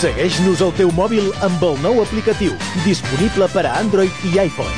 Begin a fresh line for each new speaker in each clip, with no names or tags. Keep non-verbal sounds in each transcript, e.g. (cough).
Segueix-nos al teu mòbil amb el nou aplicatiu, disponible per a Android i iPhone.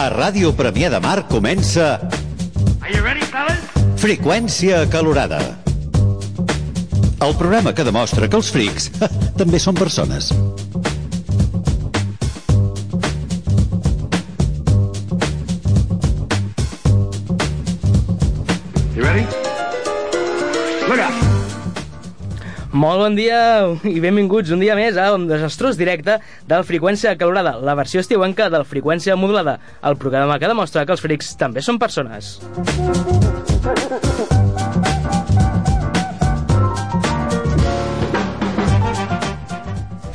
A Ràdio Premià de Mar comença
Are you ready, fellas?
Freqüència acalorada. El programa que demostra que els frics (laughs) també són persones.
You ready? Look out!
Molt bon dia i benvinguts un dia més a un desastrós directe del Freqüència Calorada, la versió estiuenca del Freqüència Modulada, el programa que demostra que els frics també són persones.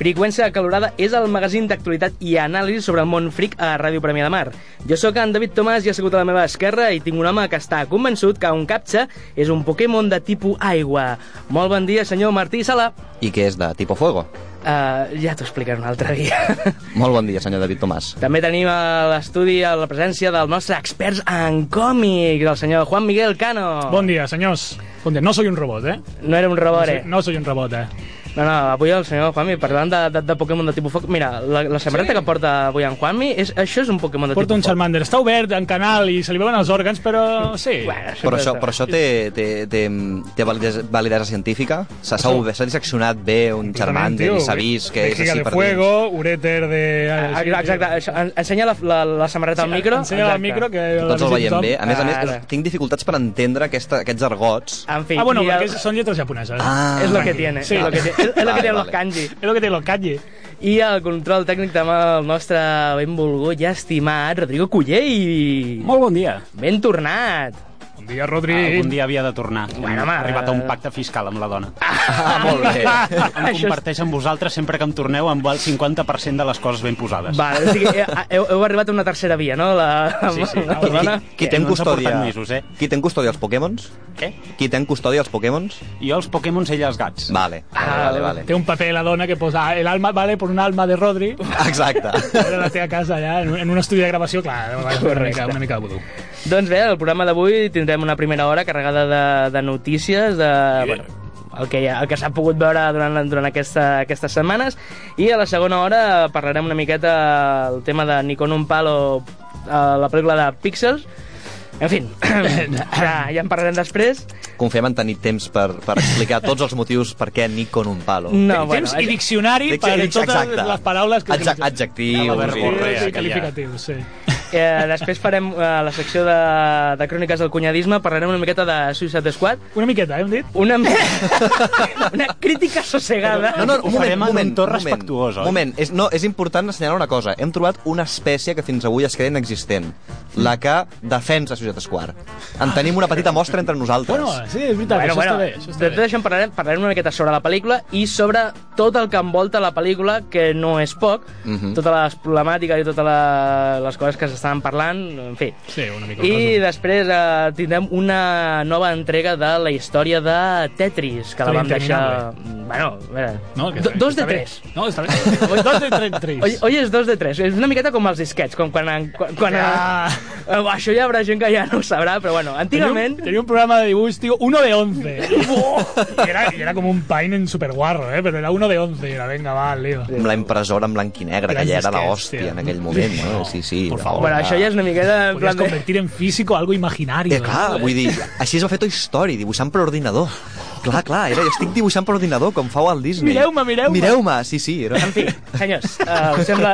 Freqüència Calorada és el magazín d'actualitat i anàlisi sobre el món fric a Ràdio Premià de Mar. Jo sóc en David Tomàs i assegut a la meva esquerra i tinc un home que està convençut que un captxa és un Pokémon de tipus aigua. Molt bon dia, senyor Martí Sala.
i que és de tipus fuego.
Uh, ja t'ho explicaré un altre dia.
Molt bon dia, senyor David Tomàs.
També tenim a l'estudi a la presència del nostre expert en còmics, el senyor Juan Miguel Cano.
Bon dia, senyors. Bon dia. No soy un robot, eh?
No era un
No
robot,
soy,
eh?
no soy un robot, eh?
No, no, avui el senyor Juanmi, parlant de, de, de Pokémon de tipus foc... Mira, la, la samarreta sí. que porta avui en Juanmi, és, això és un Pokémon de
Porta un
tipus foc.
Charmander. Està obert en canal i se li veuen els òrgans, però sí.
Bueno,
Però això,
està.
però això té, té, té, té validesa, validesa científica? S'ha s'ha- s'ha disseccionat bé un Charmander i s'ha vist que és
Vejiga
així
de
per dins.
fuego, ureter de...
Ah, Exacte, això, en- ensenya la, la, la samarreta al micro.
Ensenya
Exacte.
al micro, que...
Tots el veiem bé. A més a més,
Ara.
tinc dificultats per entendre aquesta, aquests argots.
En fi,
Ah, bueno,
i el,
perquè és- són lletres japoneses.
Ah.
és lo que
tranquil.
tiene,
Sí.
és lo que tiene, és, és lo que
Vale,
tienen los
vale.
kanji.
És el que té el calle.
I el control tècnic també el nostre benvolgut i estimat Rodrigo Cullell.
Molt bon dia.
Ben tornat.
Bon dia,
Sí.
Rodri.
Ah,
Algun dia havia de tornar.
Bueno,
Hem
home,
arribat a
eh,
un pacte fiscal amb la dona.
Ah, (laughs) molt bé.
Em
això és-
comparteix amb vosaltres sempre que em torneu amb el 50% de les coses ben posades.
Va, o sigui, eh, heu, heu arribat a una tercera via, no? La,
Sí, sí.
la
Qui- qui-
dona.
Qui
Que
té en
no ens ha
custòdia?
portat mesos, eh?
Qui té en custòdia els Pokémons?
Què?
Qui té en custòdia els Pokémons?
Jo els Pokémons, ella els gats.
Vale, vale, vale.
Té
vale.
un paper la dona que posa el alma, vale, por un alma de Rodri.
Exacte. (laughs)
Era la teva casa allà, en un, en un estudi de gravació, clar, una mica, una mica de vudú.
Doncs bé, el programa d'avui tindrem una primera hora carregada de, de notícies, de... Bueno, el que, hi ha- el que s'ha pogut veure durant, durant aquesta, aquestes setmanes i a la segona hora parlarem una miqueta el tema de Nikon un palo a la pel·lícula de Pixels en fi, (coughs) ja, ja en parlarem després
Confiem en tenir temps per, per explicar tots els motius per què Nikon un palo.
no,
Temps
bueno,
i diccionari per
Exacte.
totes les paraules que
Adja-
utilitzem.
Adjectius.
La verborrea.
Sí,
aquella.
qualificatius, sí.
eh, després farem eh, la secció de, de cròniques del cunyadisme parlarem una miqueta de Suicide Squad
Una miqueta, eh, hem dit?
una, me- (laughs) una crítica sossegada
No, no,
Ho
un moment, un
farem en un
moment,
to
un moment,
respectuós, oi?
Un moment, és, no, és important assenyalar una cosa. Hem trobat una espècie que fins avui es queda inexistent, la que defensa Societat Squad. En tenim una petita mostra entre nosaltres.
Bueno, sí, és veritat,
Bueno,
això
bueno,
està bé. Això
de
està
tot
bé.
això en parlarem, parlarem una miqueta sobre la pel·lícula i sobre tot el que envolta la pel·lícula, que no és poc,
Mhm.
totes les problemàtiques i totes la, les coses que s'estaven parlant, en fi.
Sí, una mica.
I després eh, tindrem una nova entrega de la història de Tetris, que la
Història
vam deixar... Bueno, a veure,
eh? No, que
do-
està bé,
dos de
està bé.
tres.
No, (laughs) està bé. Dos de tres. tres.
Hoy, hoy és dos de tres, és una miqueta com els disquets, com quan... en- quan, quan
Ah.
eh, (laughs) això ja hi haurà gent que ja no ho sabrà, però bueno,
Tenía un-
antigament...
Tenía un programa de dibuix, tío, uno de (laughs) 11. y, era, y era como un pain en superguarro, eh, pero era uno de 11. y Era, venga, va, al lío.
Amb la impressora en blanc i negre, que
Grans
ja era la
disquets,
hòstia
tio.
en aquell moment. No? Sí, sí.
Por
la
favor.
Bueno,
hora.
això ja és una miqueta... en
Podías
plan de-
convertir en físico algo imaginario.
Eh, clar, vull dir, així es va fer Toy Story, dibuixant per ordinador. Clar, clar, era, jo estic dibuixant per ordinador, com fau al Disney.
Mireu-me, mireu-me.
Mireu-me, sí, sí. Era...
En fi, senyors, uh, us sembla...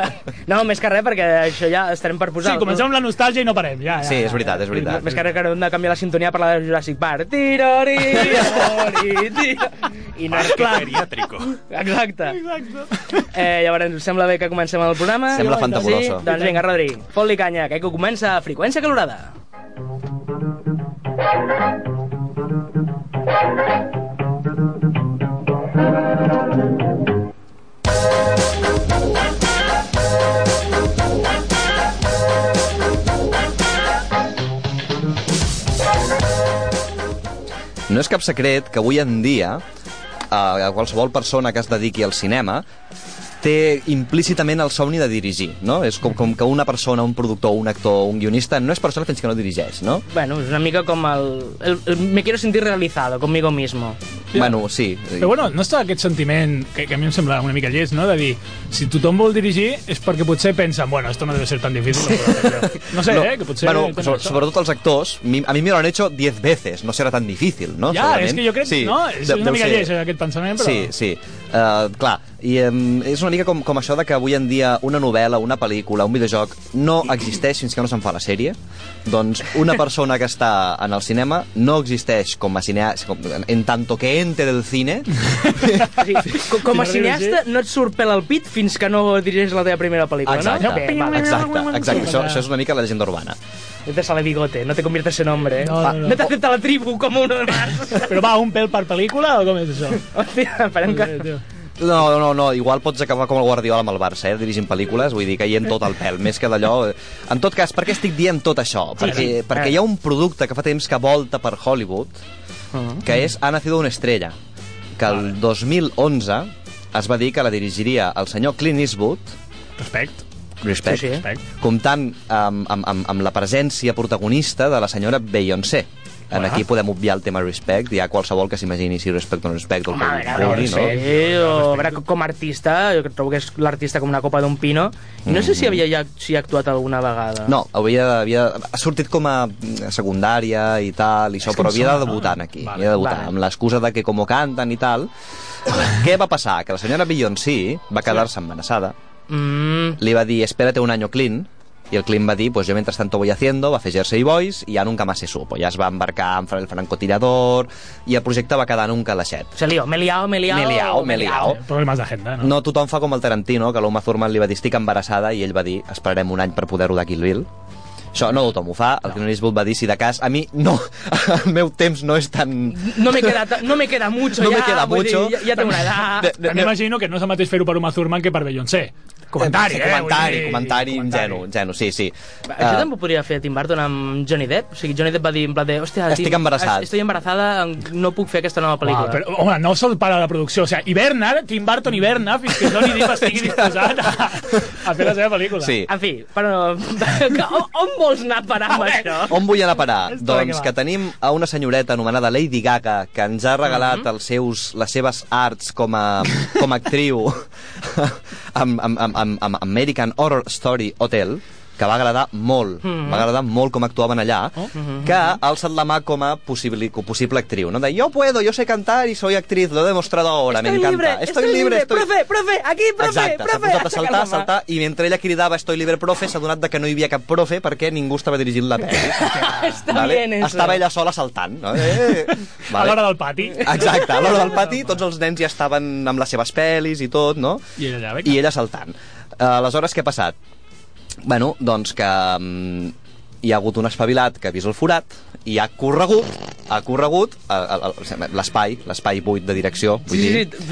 No, més que res, perquè això ja estarem per
Sí,
posar...
comencem amb la nostàlgia i no parem, ja. ja.
Sí, és veritat, és veritat.
Més que res que hem de canviar la sintonia per la de Jurassic Park. Tirori, tirori, tirori... I no és clar.
Geriátrico.
Exacte. Eh, llavors, us sembla bé que comencem el programa?
Sembla fantabuloso.
Sí? Doncs vinga, Rodri, fot-li canya, que aquí comença Freqüència Calorada.
No és cap secret que avui en dia eh, a qualsevol persona que es dediqui al cinema té implícitament el somni de dirigir, no? És com, com que una persona, un productor, un actor, un guionista, no és persona fins que no dirigeix, no?
Bueno, és una mica com el... el, el me quiero sentir realizado conmigo mismo.
Yeah. Bueno, sí.
Però bueno, no està aquest sentiment, que, que a mi em sembla una mica llest, no? De dir, si tothom vol dirigir és perquè potser pensen, bueno, esto no debe ser tan difícil. Però, no sé, no, eh? Que potser...
bueno,
tenen
so,
això.
sobretot els actors, mi- a mi me lo han hecho 10 veces, no serà tan difícil, no?
Ja, és que jo crec...
Sí,
no? És
de-
una
deu
mica
ser-
llest eh, aquest pensament, però...
Sí, sí. Uh, clar, i um, és una mica com, com això de que avui en dia una novel·la, una pel·lícula, un videojoc no existeix fins que no se'n fa la sèrie. Doncs una persona que està en el cinema no existeix com a cineasta, com, en tanto que ente del cine.
O sigui, co- com a
Si no dirigeix-
cineasta no et surt pel al pit fins que no dirigeix la teva primera pel·lícula,
Exacte,
no? Bé, doncs, vale.
exacte, exacte. Això, això és una mica la llegenda urbana.
Te sale bigote, no te conviertes en hombre.
No, no, no.
no te acepta la tribu com uno más.
Però va, un pèl per pel·lícula o com és
(laughs)
això? Eh,
Hòstia, esperem que...
Tio.
No, no, no, igual pots acabar com el Guardiola amb el Barça, eh, dirigint pel·lícules, vull dir que hi en tot el pèl, més que d'allò... eh. En tot cas, per què estic dient tot això? Perquè,
sí. Eh.
perquè hi ha un producte que fa temps que volta per Hollywood,
Uh-huh.
que és Ha nacido una estrella, que el 2011 es va dir que la dirigiria el senyor Clint Eastwood,
Respect.
respect,
Sí, sí.
comptant amb, amb, amb, amb la presència protagonista de la senyora Beyoncé. En aquí podem obviar el tema respect, hi ha qualsevol que s'imagini si respect o no respect, o el
Home, a
que
veure,
vulgui,
no
no?
sé, o, a veure, com a artista, jo trobo que és l'artista com una copa d'un pino. I No sé si havia ja, si ha actuat alguna vegada.
Mm. No, havia, havia, ha sortit com a mm, secundària i tal, i això, però havia de debutar aquí,
Vale,
havia de debutar,
vale.
amb l'excusa de que com ho canten i tal. Què va passar? Que la senyora Beyoncé va quedar-se embarassada,
Mm,
li va dir, espérate un año, Clint, i el Clint va dir, pues yo mientras tanto voy haciendo, va fer Jersey Boys, i ja nunca más se supo. Ja es va embarcar amb el francotirador, i el projecte va quedar en un calaixet.
se lió, me he liado, me he liado.
Me he liado, me he liado.
Problemes d'agenda, no?
No tothom fa com el Tarantino, que l'Uma Thurman li va dir estic embarassada i ell va dir esperarem un any per poder rodar Kill Bill. Això no tothom ho fa, el Clint Eastwood va dir si de cas, a mi no, (laughs) el meu temps no és tan...
No me queda, ta- no me queda mucho
No
ya.
me queda
vull dir,
mucho.
Ja, ja tengo una edad.
De- de-
A mi imagino que no és el mateix fer-ho per Uma Thurman que per Beyoncé. Comentari, eh?
Comentari,
Vull dir-
comentari, ingenu, ingenu, sí, sí.
Això
Eh,
també ho podria fer Tim Burton amb Johnny Depp. O sigui, Johnny Depp va dir en plan de... Hòstia,
Estic
Tim,
embarassat."
es- Estoy embarazada, no puc fer aquesta nova
Uau,
pel·lícula.
però, home, no sol para la producció. O sigui, hiverna, Tim Burton hiverna fins que Johnny Depp estigui disposat a, a fer la seva pel·lícula.
Sí.
En fi, però... (laughs) on, on vols anar a parar amb això?
eh,
On vull anar a parar?
Esto de què
doncs
va?
que tenim a una senyoreta anomenada Lady Gaga que ens ha regalat
Mhm.
els seus, les seves arts com a, com a actriu (laughs) amb, amb, amb, amb, amb American Horror Story Hotel que va agradar molt,
Mhm.
va agradar molt com actuaven allà,
Oh.
que ha alçat la mà com a possible, com possible actriu, no? De, yo puedo, yo sé cantar y soy actriz, lo he demostrado ahora, me encanta.
Profe, profe, aquí, profe,
Exacte, s'ha
profe.
posat a saltar,
aixeca la mà.
a saltar, i mentre ella cridava Estoy libre, profe, s'ha adonat de que no hi havia cap profe perquè ningú estava dirigint la pel·li.
Està bien, eso.
Estava ella sola saltant. No? Eh, eh.
(laughs) A l'hora del pati.
Exacte, a
(laughs)
l'hora del pati tots els nens ja estaven amb les seves pel·lis i tot, no?
I ella allà, vinga.
I ella saltant. Eh, Aleshores, què ha passat? Bueno, doncs que mm, hi ha hagut un espavilat que ha vist el forat i ha corregut, ha corregut el- el- el- l'espai, l'espai buit de direcció. Vull
Sí, sí,
dir,
sí.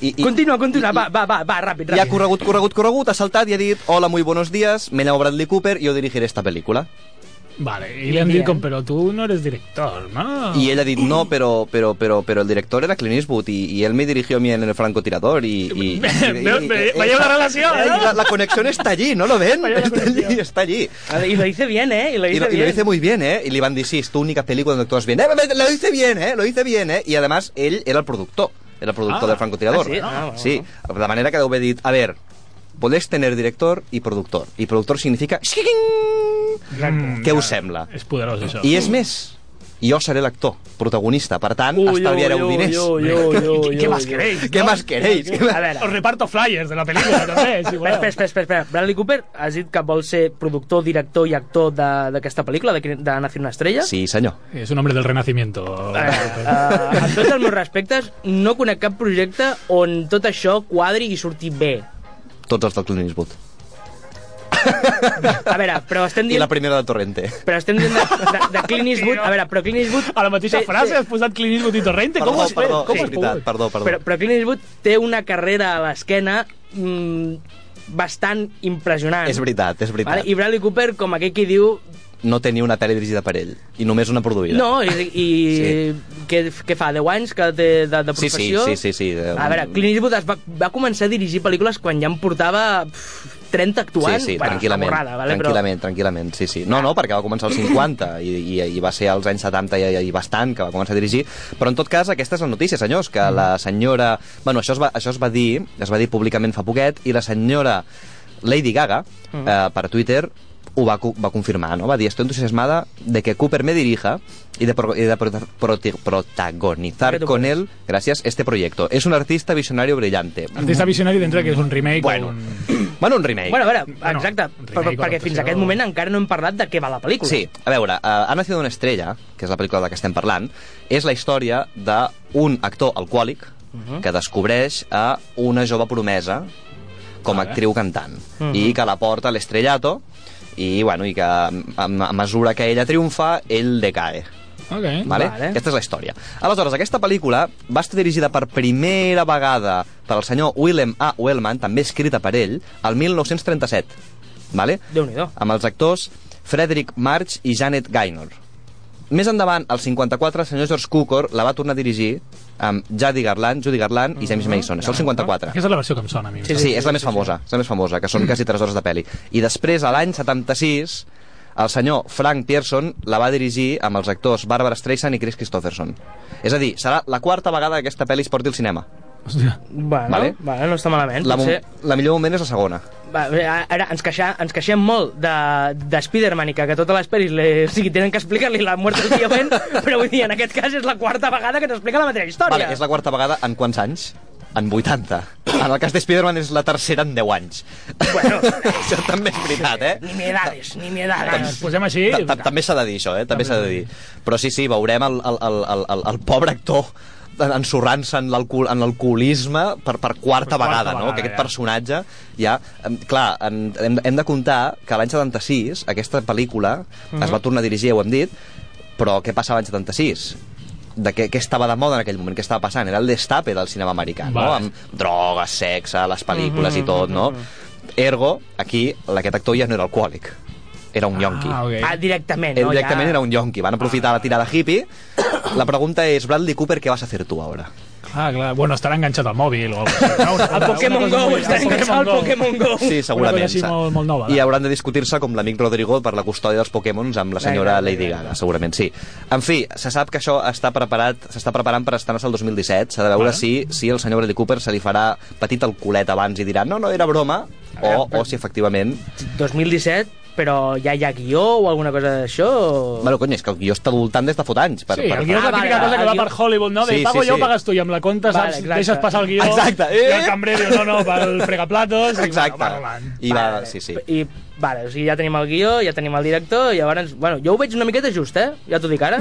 sí.
I- i-
continua, continua, va, va, va, va, ràpid,
I ha
ràpid.
corregut, corregut, corregut, ha saltat i ha dit Hola, muy buenos días, me llamo Bradley Cooper i jo dirigiré esta pel·lícula.
Vale, i li han dit com, però tu no eres director, no?
I ell ha dit, no, però, però, però, però el director era Clint Eastwood i, i él me dirigió a mi en el francotirador
(laughs)
i... i, i, i,
Veu- ve- veieu la relació,
eh,
no?
La, la conexión está allí, ¿no lo ven? Está allí, está allí.
Ah, I lo hice bien, eh? I lo
Y
hice
lo, y
bien.
lo hice muy bien, ¿eh? Y le van a decir, sí, es tu única película donde actúas bien. Eh, lo hice bien, ¿eh? Lo hice bien, ¿eh? Y además, ell era el productor. Era el productor
Ah.
del francotirador.
Ah, sí? Ah, bueno.
sí. De manera que deu haver dit, a ver, podés tener director i productor. I productor significa...
Exacte.
Què us sembla?
És poderós, això.
I és més, i jo seré l'actor protagonista. Per tant,
Ui, ui,
estalviareu
ui,
diners.
ui, ui,
(laughs)
ui, ui,
¿Qué
ui,
más
ui.
queréis?
Què
no?
más queréis? Què
A
más-
veure,
Os reparto flyers de la película, també,
(laughs)
si
Espera,
voleu.
espera, espera, espera, espera. Bradley Cooper has dit que vol ser productor, director i actor de- d'aquesta pel·lícula, de, Cri- de Nació una estrella?
Sí, senyor.
És un hombre del renacimiento.
Eh,
Ah,
Ah,
eh, amb tots els meus respectes, no conec cap projecte on tot això quadri i surti bé.
Tots els del Clint Eastwood.
A veure, però estem
I
dient...
la primera de Torrente.
Però estem dient de, de, de Clint Eastwood... A veire, però Clint Eastwood...
A la mateixa
té-
frase
té-
has posat Clint Eastwood i Torrente.
Perdó,
Com has fet?
perdó,
Com
és
has
veritat,
pogut?
perdó, perdó.
Però, però Clint Eastwood té una carrera a l'esquena mm, bastant impressionant.
És veritat, és veritat.
Vale? I Bradley Cooper, com aquell qui diu...
No tenia una pel·li dirigida per ell, i només una produïda.
No, i, i què, què fa, 10 anys que té de, de
Sí, sí,
professió?
sí, sí, sí, eh,
A veure, Clint Eastwood es va, va començar a dirigir pel·lícules quan ja en portava pff, 30 actuant.
Sí, sí,
Bueno,
tranquil·lament.
una borrada, vale?
tranquil·lament, tranquil·lament, sí, sí. No, no, perquè va
(clears throat)
començar als 50 i, i, i va ser als anys 70 i, i bastant que va començar a dirigir. Però en tot cas, aquesta és la notícia, senyors, que la
Mm.
senyora... Bueno, això es, va, això es va dir, es va dir públicament fa poquet, i la senyora Lady Gaga,
Mm.
eh, per Twitter, ho va, co- va confirmar, no? Va dir, estoy entusiasmada de que Cooper me dirija y de, pro- y de prota- proti- protagonizar
Perfecto,
con
pues.
él, gracias, este proyecto. Es un artista visionario brillante.
Artista visionari dintre que és un remake.
Bueno.
Un...
Bueno, un remake.
Bueno, a veure,
Bueno,
exacte,
un
per,
remake o
perquè fins a
adaptació.
aquest moment encara no hem parlat de què va la pel·lícula.
Sí, a veure, uh, Ha nacido una estrella, que és la pel·lícula de la que estem parlant, és la història d'un actor alcohòlic
Mhm.
que descobreix a una jove promesa com a actriu cantant
Mhm.
i que la porta a l'estrellato i, bueno, i que a, a a mesura que ella triomfa, ell decae.
Ok.
Vale?
Vale.
vale? Aquesta és la història. Aleshores, aquesta pel·lícula va estar dirigida per primera vegada pel senyor Willem A. Wellman, també escrita per ell, el 1937. Vale?
Déu-n'hi-do.
amb els actors Frederick March i Janet Gaynor. Més endavant, al 54, el senyor George Cukor la va tornar a dirigir amb Judy Garland, Judy Garland i James Mason. Això al 54.
Aquesta és la versió que em sona a mi.
Mm-hmm. Sí, és la més famosa, és la més famosa, que són quasi 3 hores de peli. I després, a l'any 76, el senyor Frank Pearson la va dirigir amb els actors Barbara Streisand i Chris Christopherson. És a dir, serà la quarta vegada que aquesta pel·li es porti al cinema.
Hòstia.
Bueno, vale.
Vale.
vale, no està malament.
La, mo-
potser...
la millor moment és la segona.
Va, bé, ara ens, queixa, ens queixem molt de, de Spider-Man i que, que totes les pel·lis le, o sigui, tenen que explicar-li la mort del tio Ben, (laughs) però vull dir, en aquest cas és la quarta vegada que t'explica la mateixa història.
Vale, és la quarta vegada en quants anys? En 80. En el cas de Spider-Man és la tercera en 10 anys.
Bueno.
(laughs) això també és veritat, eh?
Ni miedades, ni miedades.
Ens posem així...
Ta- ta- També s'ha de dir això, eh? També s'ha de dir. Però sí, sí, veurem el, el, el, el, el- el pobre actor ensorrant-se en l'alcohol- en l'alcoholisme per, per quarta
Per quarta
vegada, no?
vegada,
Que aquest
ja.
personatge ja... em, Clar, en, hem, hem de comptar que l'any 76 aquesta pel·lícula es
Mhm.
va tornar a dirigir, ja ho hem dit, però què passava l'any 76? de què, què estava de moda en aquell moment, què estava passant. Era el destape del cinema americà, no?
Vale. Mhm,
Amb drogues, sexe, les pel·lícules i tot, no? Ergo, aquí, aquest actor ja no era alcohòlic. Era un yonqui.
Ah, ok.
Ah, directament,
Él
no?
directamente
ja...
eh? era un yonki. Van a aprovechar la tirada hippie. La pregunta es, Bradley Cooper, ¿qué vas a hacer tú ahora?
Ah, clar. Bueno, estarà enganxat (laughs) al mòbil o alguna cosa. No, una
El
cosa-
Pokémon
una cosa
Go,
molt-
està
el
enganxat al Pokémon Go.
Sí, segurament.
així
sa-
molt- molt nova, eh?
I
va.
hauran de discutir-se com l'amic Rodrigo per la custòdia dels Pokémons amb la senyora
Vinga,
Lady
vinga.
Gaga, segurament, sí. En fi, se sap que això està preparat, s'està preparant per estrenar-se el 2017. S'ha de veure si, si el senyor Bradley Cooper se li farà petit el culet abans i dirà no, no, era broma, o, o si efectivament...
2017, però ja hi ha guió o alguna cosa d'això? o-
Bueno, cony, és que el guió està voltant des de fot anys. Per,
Sí,
per,
el guió és
Ah,
la
vale,
típica cosa que
el
va
guió-
per Hollywood, no? De
Sí,
pago
sí,
jo,
sí.
pagas tu, i amb la compta
Vale,
saps,
exacte.
deixes passar el guió,
Exacte,
i
eh?
el cambrer diu, no, no, pel fregaplatos, i
Exacte.
bueno, va rolant.
I va, sí, sí.
I, vale, o sigui, ja tenim el guió, ja tenim el director, i llavors... Bueno, jo ho veig una miqueta just, eh? Ja t'ho dic
(laughs)
ara.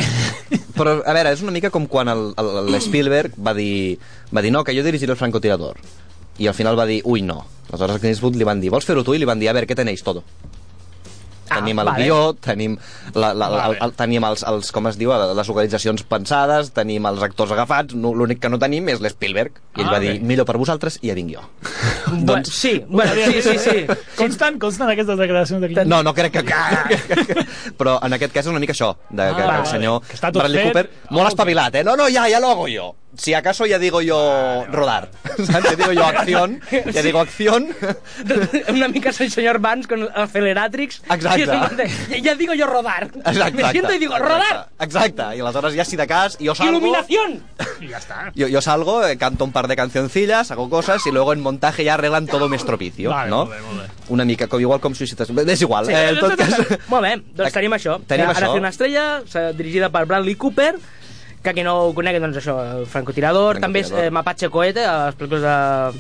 Però, a veure, és una mica com quan el-
(clears throat)
el- l'Spielberg va dir, va dir no, que jo dirigiré el francotirador. I al final va dir, ui, no. Aleshores, a Clint Eastwood li van dir, vols fer-ho tu? I li van dir, a veure, què tenéis todo?
Ah,
tenim el
vale.
guió, tenim, la, la, la,
Vale.
el, tenim els, (laughs) els, com es diu, eh, les localitzacions pensades, tenim els actors agafats, no, l'únic que no tenim és l'Spielberg. I ell
Ah,
va
bé.
dir, millor per vosaltres, i ja vinc jo. Doncs
Bueno, sí, bueno, sí, sí, (laughs) sí.
Constant, constant aquestes declaracions de Clint.
No, no crec que...
(laughs)
Però en aquest cas és una mica això, de, que,
Ah,
que
vale.
el senyor
Que està tot
Bradley
fet.
Cooper, molt espavilat, eh? No, no, ja, ja lo hago jo.
si acaso ya digo yo rodar, (laughs) ¿sabes? Ya digo yo acción, ya digo acción. (laughs)
Una mica soy señor Vance con Acceleratrix.
Exacte.
I és un moment de, "Ja- (laughs) ja digo yo rodar.
Exacte.
Me siento y digo,
exacte.
rodar.
Exacte, y aleshores ja si de cas, jo salgo...
Iluminación.
Y ya está.
Yo, yo salgo, eh, canto un par de cancioncillas, hago cosas y luego en montaje ya arreglan todo mi estropicio,
Vale,
no?
molt bé, molt bé.
Una mica, com, igual com Suïcides... És igual, eh, en
(laughs)
tot cas...
Molt bé, doncs tenim això.
Tenim
Ara
això.
té una estrella, s'ha- dirigida per Bradley Cooper, que qui no ho conegui, doncs això, el
Francotirador.
francotirador, també és eh, Mapache Cohete, a les pel·lícules de,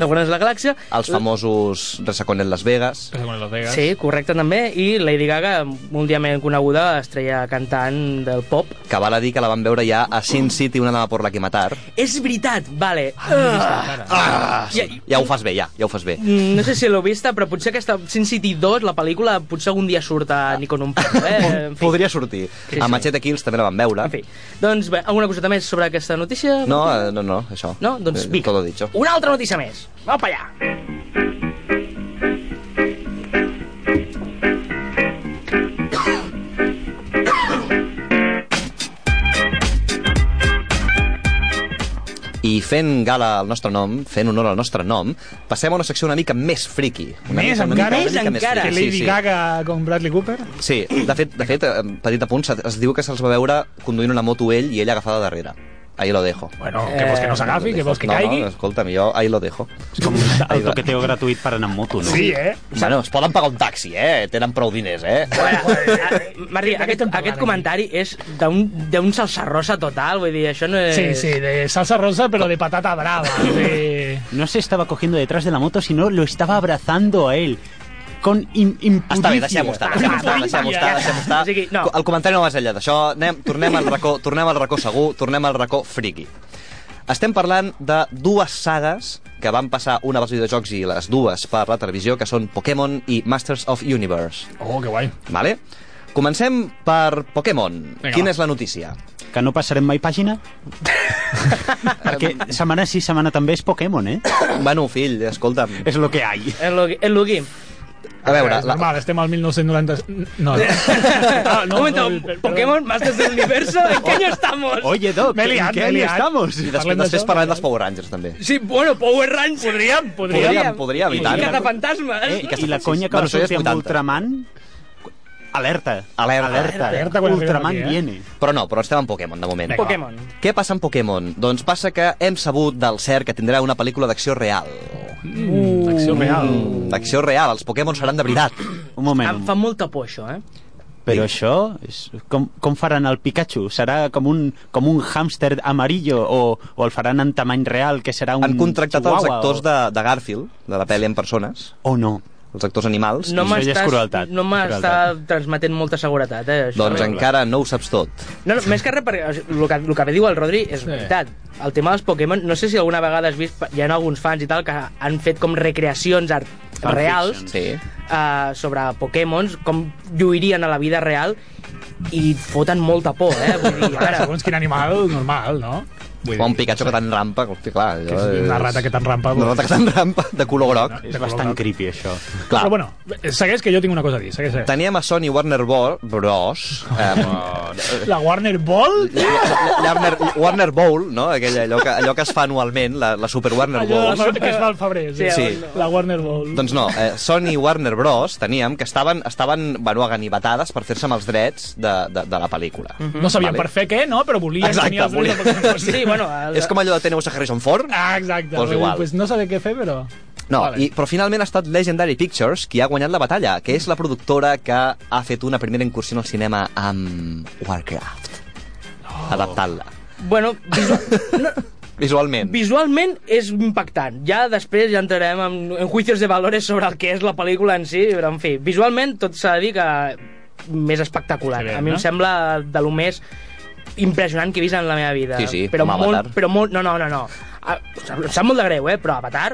de Guardians de la Galàxia.
Els famosos Resacón en Las Vegas.
Pasa con Las Vegas.
Sí, correcte també, i Lady Gaga, mundialment coneguda, estrella cantant del pop.
que val a dir que la van veure ja a Sin City, una dama por la que matar.
És veritat, vale.
Ah, sí.
Ja-
Ja ho fas bé, ja, ja ho fas bé.
Mm, No sé si l'heu vista, però potser aquesta Sin City 2, la pel·lícula, potser algun dia surt a Nikon un poc,
(laughs)
eh? En fi.
Podria sortir. A Machete Kills també la van veure.
En fi. Doncs bé, alguna coseta més sobre aquesta notícia?
No, eh, no, no, això.
No? Doncs
Eh,
vinga.
Todo dicho.
Una altra notícia més. Va pa allà.
I fent gala al nostre nom, fent honor al nostre nom, passem a una secció una mica més friki. Una
Més
mica, una
encara?
mica-
Més
una mica més
encara?
Que
friki,
Lady
sí, sí.
Gaga con Bradley Cooper.
Sí, de fet, de fet eh, petit apunt, se- es diu que se'ls va veure conduint una moto ell i ella agafada darrere. Ahí lo dejo.
Bueno, que vols que no s'agafi, que vols que
no,
caigui.
No, escolta'm, jo ahí lo dejo.
És com el toqueteo gratuït per anar amb moto, no?
Sí, eh?
Bueno, es poden pagar un taxi, eh? Tenen prou diners, eh?
eh,
eh, Marri,
què
aquest,
estem parlant
aquest
aquí?
comentari és d'un d'un salsarrosa total, vull dir, això no és...
Sí, sí, de salsa rosa, pero de patata brava. Sí.
(laughs)
No se estaba cogiendo detrás de la moto, sino lo estaba abrazando a él. Con im impudicia.
Està bé, deixem-ho estar, deixem-ho estar, deixem-ho estar, deixem-ho estar.
O sigui, no.
El comentari no va més enllà d'això. Anem, tornem al racó, tornem al racó segur, tornem al racó friki. Estem parlant de dues sagues que van passar una als videojocs i les dues per la televisió, que són Pokémon i Masters of Universe.
Oh, qué guay.
Vale? Comencem per Pokémon.
Vinga,
Quina
va.
és la notícia?
Que no passarem mai pàgina?
(laughs)
Perquè setmana sí, setmana també és Pokémon, eh?
bueno, fill, escolta'm.
És lo que hay.
El Lugui. El Lugui.
A veure,
Eh, Es
la,
normal, este estem al
(laughs)
1990... No, no. Ah,
No, Momento, Pokémon, Masters del Universo, ¿en qué año estamos?
Oye, Doc,
Me he liat,
¿en qué
me he
año
liat.
estamos?
i després,
parlem
després
d'això,
parlem dels
parlem.
Power Rangers, també.
Sí, bueno, Power Rangers.
Podríem, podríem.
Podríem, podríem, i
I
tant.
Cazafantasmes.
Eh, i que-
I la conya que
Bueno,
bueno,
això ja
va
és
sortir amb
80.
Ultraman... Alerta.
Alerta.
Alerta.
Alerta quan
Ultraman
arribem aquí, eh?
viene.
Però no, però estem en Pokémon, de moment.
Vinga.
Pokémon.
Què passa amb Pokémon? Doncs passa que hem sabut del cert que tindrà una pel·lícula d'acció real.
Mm, acció real.
D'acció real, els Pokémon seran de veritat.
Un moment.
Em fa molta por, això, eh?
Però això, és, com, com faran el Pikachu? Serà com un, com un hàmster amarillo o, o el faran en tamany real, que serà un
Mm.
Han contractat els
chihuahua,
actors
o...
de, de Garfield, de la pel·li en persones,
O no.
els actors animals.
No
Això ja és
m'estàs-
crueltat.
No m'està
Crueltat.
transmetent molta seguretat, eh? Això.
Doncs encara no ho saps tot.
No, no, més que res, perquè o sigui, el que, el que bé diu el Rodri és sí. veritat. El tema dels Pokémon, no sé si alguna vegada has vist, hi ha alguns fans i tal, que han fet com recreacions art,
Fan
reals
fiction.
Sí.
uh, sobre Pokémons, com lluirien a la vida real, i foten molta por, eh? Vull dir,
Ara,
ara,
segons quin animal, normal, no? Vull
O un Pikachu que tan rampa, que, hosti, clar...
Que és una rata que tan rampa. pues,
Una rata que tan rampa, de color groc.
No,
És bastant creepy, això.
Clar,
Però bueno, segueix que jo tinc una cosa a dir, segueix, segueix.
teníem a Sony Warner Bo- Bros. Eh,
La Warner Ball?
Warner, Warner Bowl, no? Aquella, allò, que, allò que es fa anualment, la, la Super Warner
Allò
Bowl.
del- que es fa al febrer, sí.
Sí.
La Warner Ball.
Doncs no, eh, Sony i Warner Bros. teníem que estaven, estaven bueno, ganivetades per fer-se amb els drets de, de, de la pel·lícula. Mm
No sabien per fer què, no? Però volien
Exacte,
tenir els drets de
volien- (laughs)
Pokémon.
sí, bueno, el,
És com allò de Teneus a Harrison Ford?
Ah, exacte.
Doncs
Vull dir,
igual.
Pues no saber què fer, però...
No,
Vale.
i, però finalment ha estat Legendary Pictures qui ha guanyat la batalla, que és la productora que ha fet una primera incursió al cinema amb Warcraft. Adaptant-la.
bueno, visu no,
Visualment.
visualment és impactant. Ja després ja entrarem en, en juicios de valores sobre el que és la pel·lícula en si, però en fi, visualment tot s'ha de dir que més espectacular.
Sí, bé,
a mi
no?
em sembla de lo més impressionant que he vist en la meva vida.
Sí, sí,
però
com
molt,
Avatar.
Però molt, no, no, no, no. Ah, em sap molt de greu, eh? però Avatar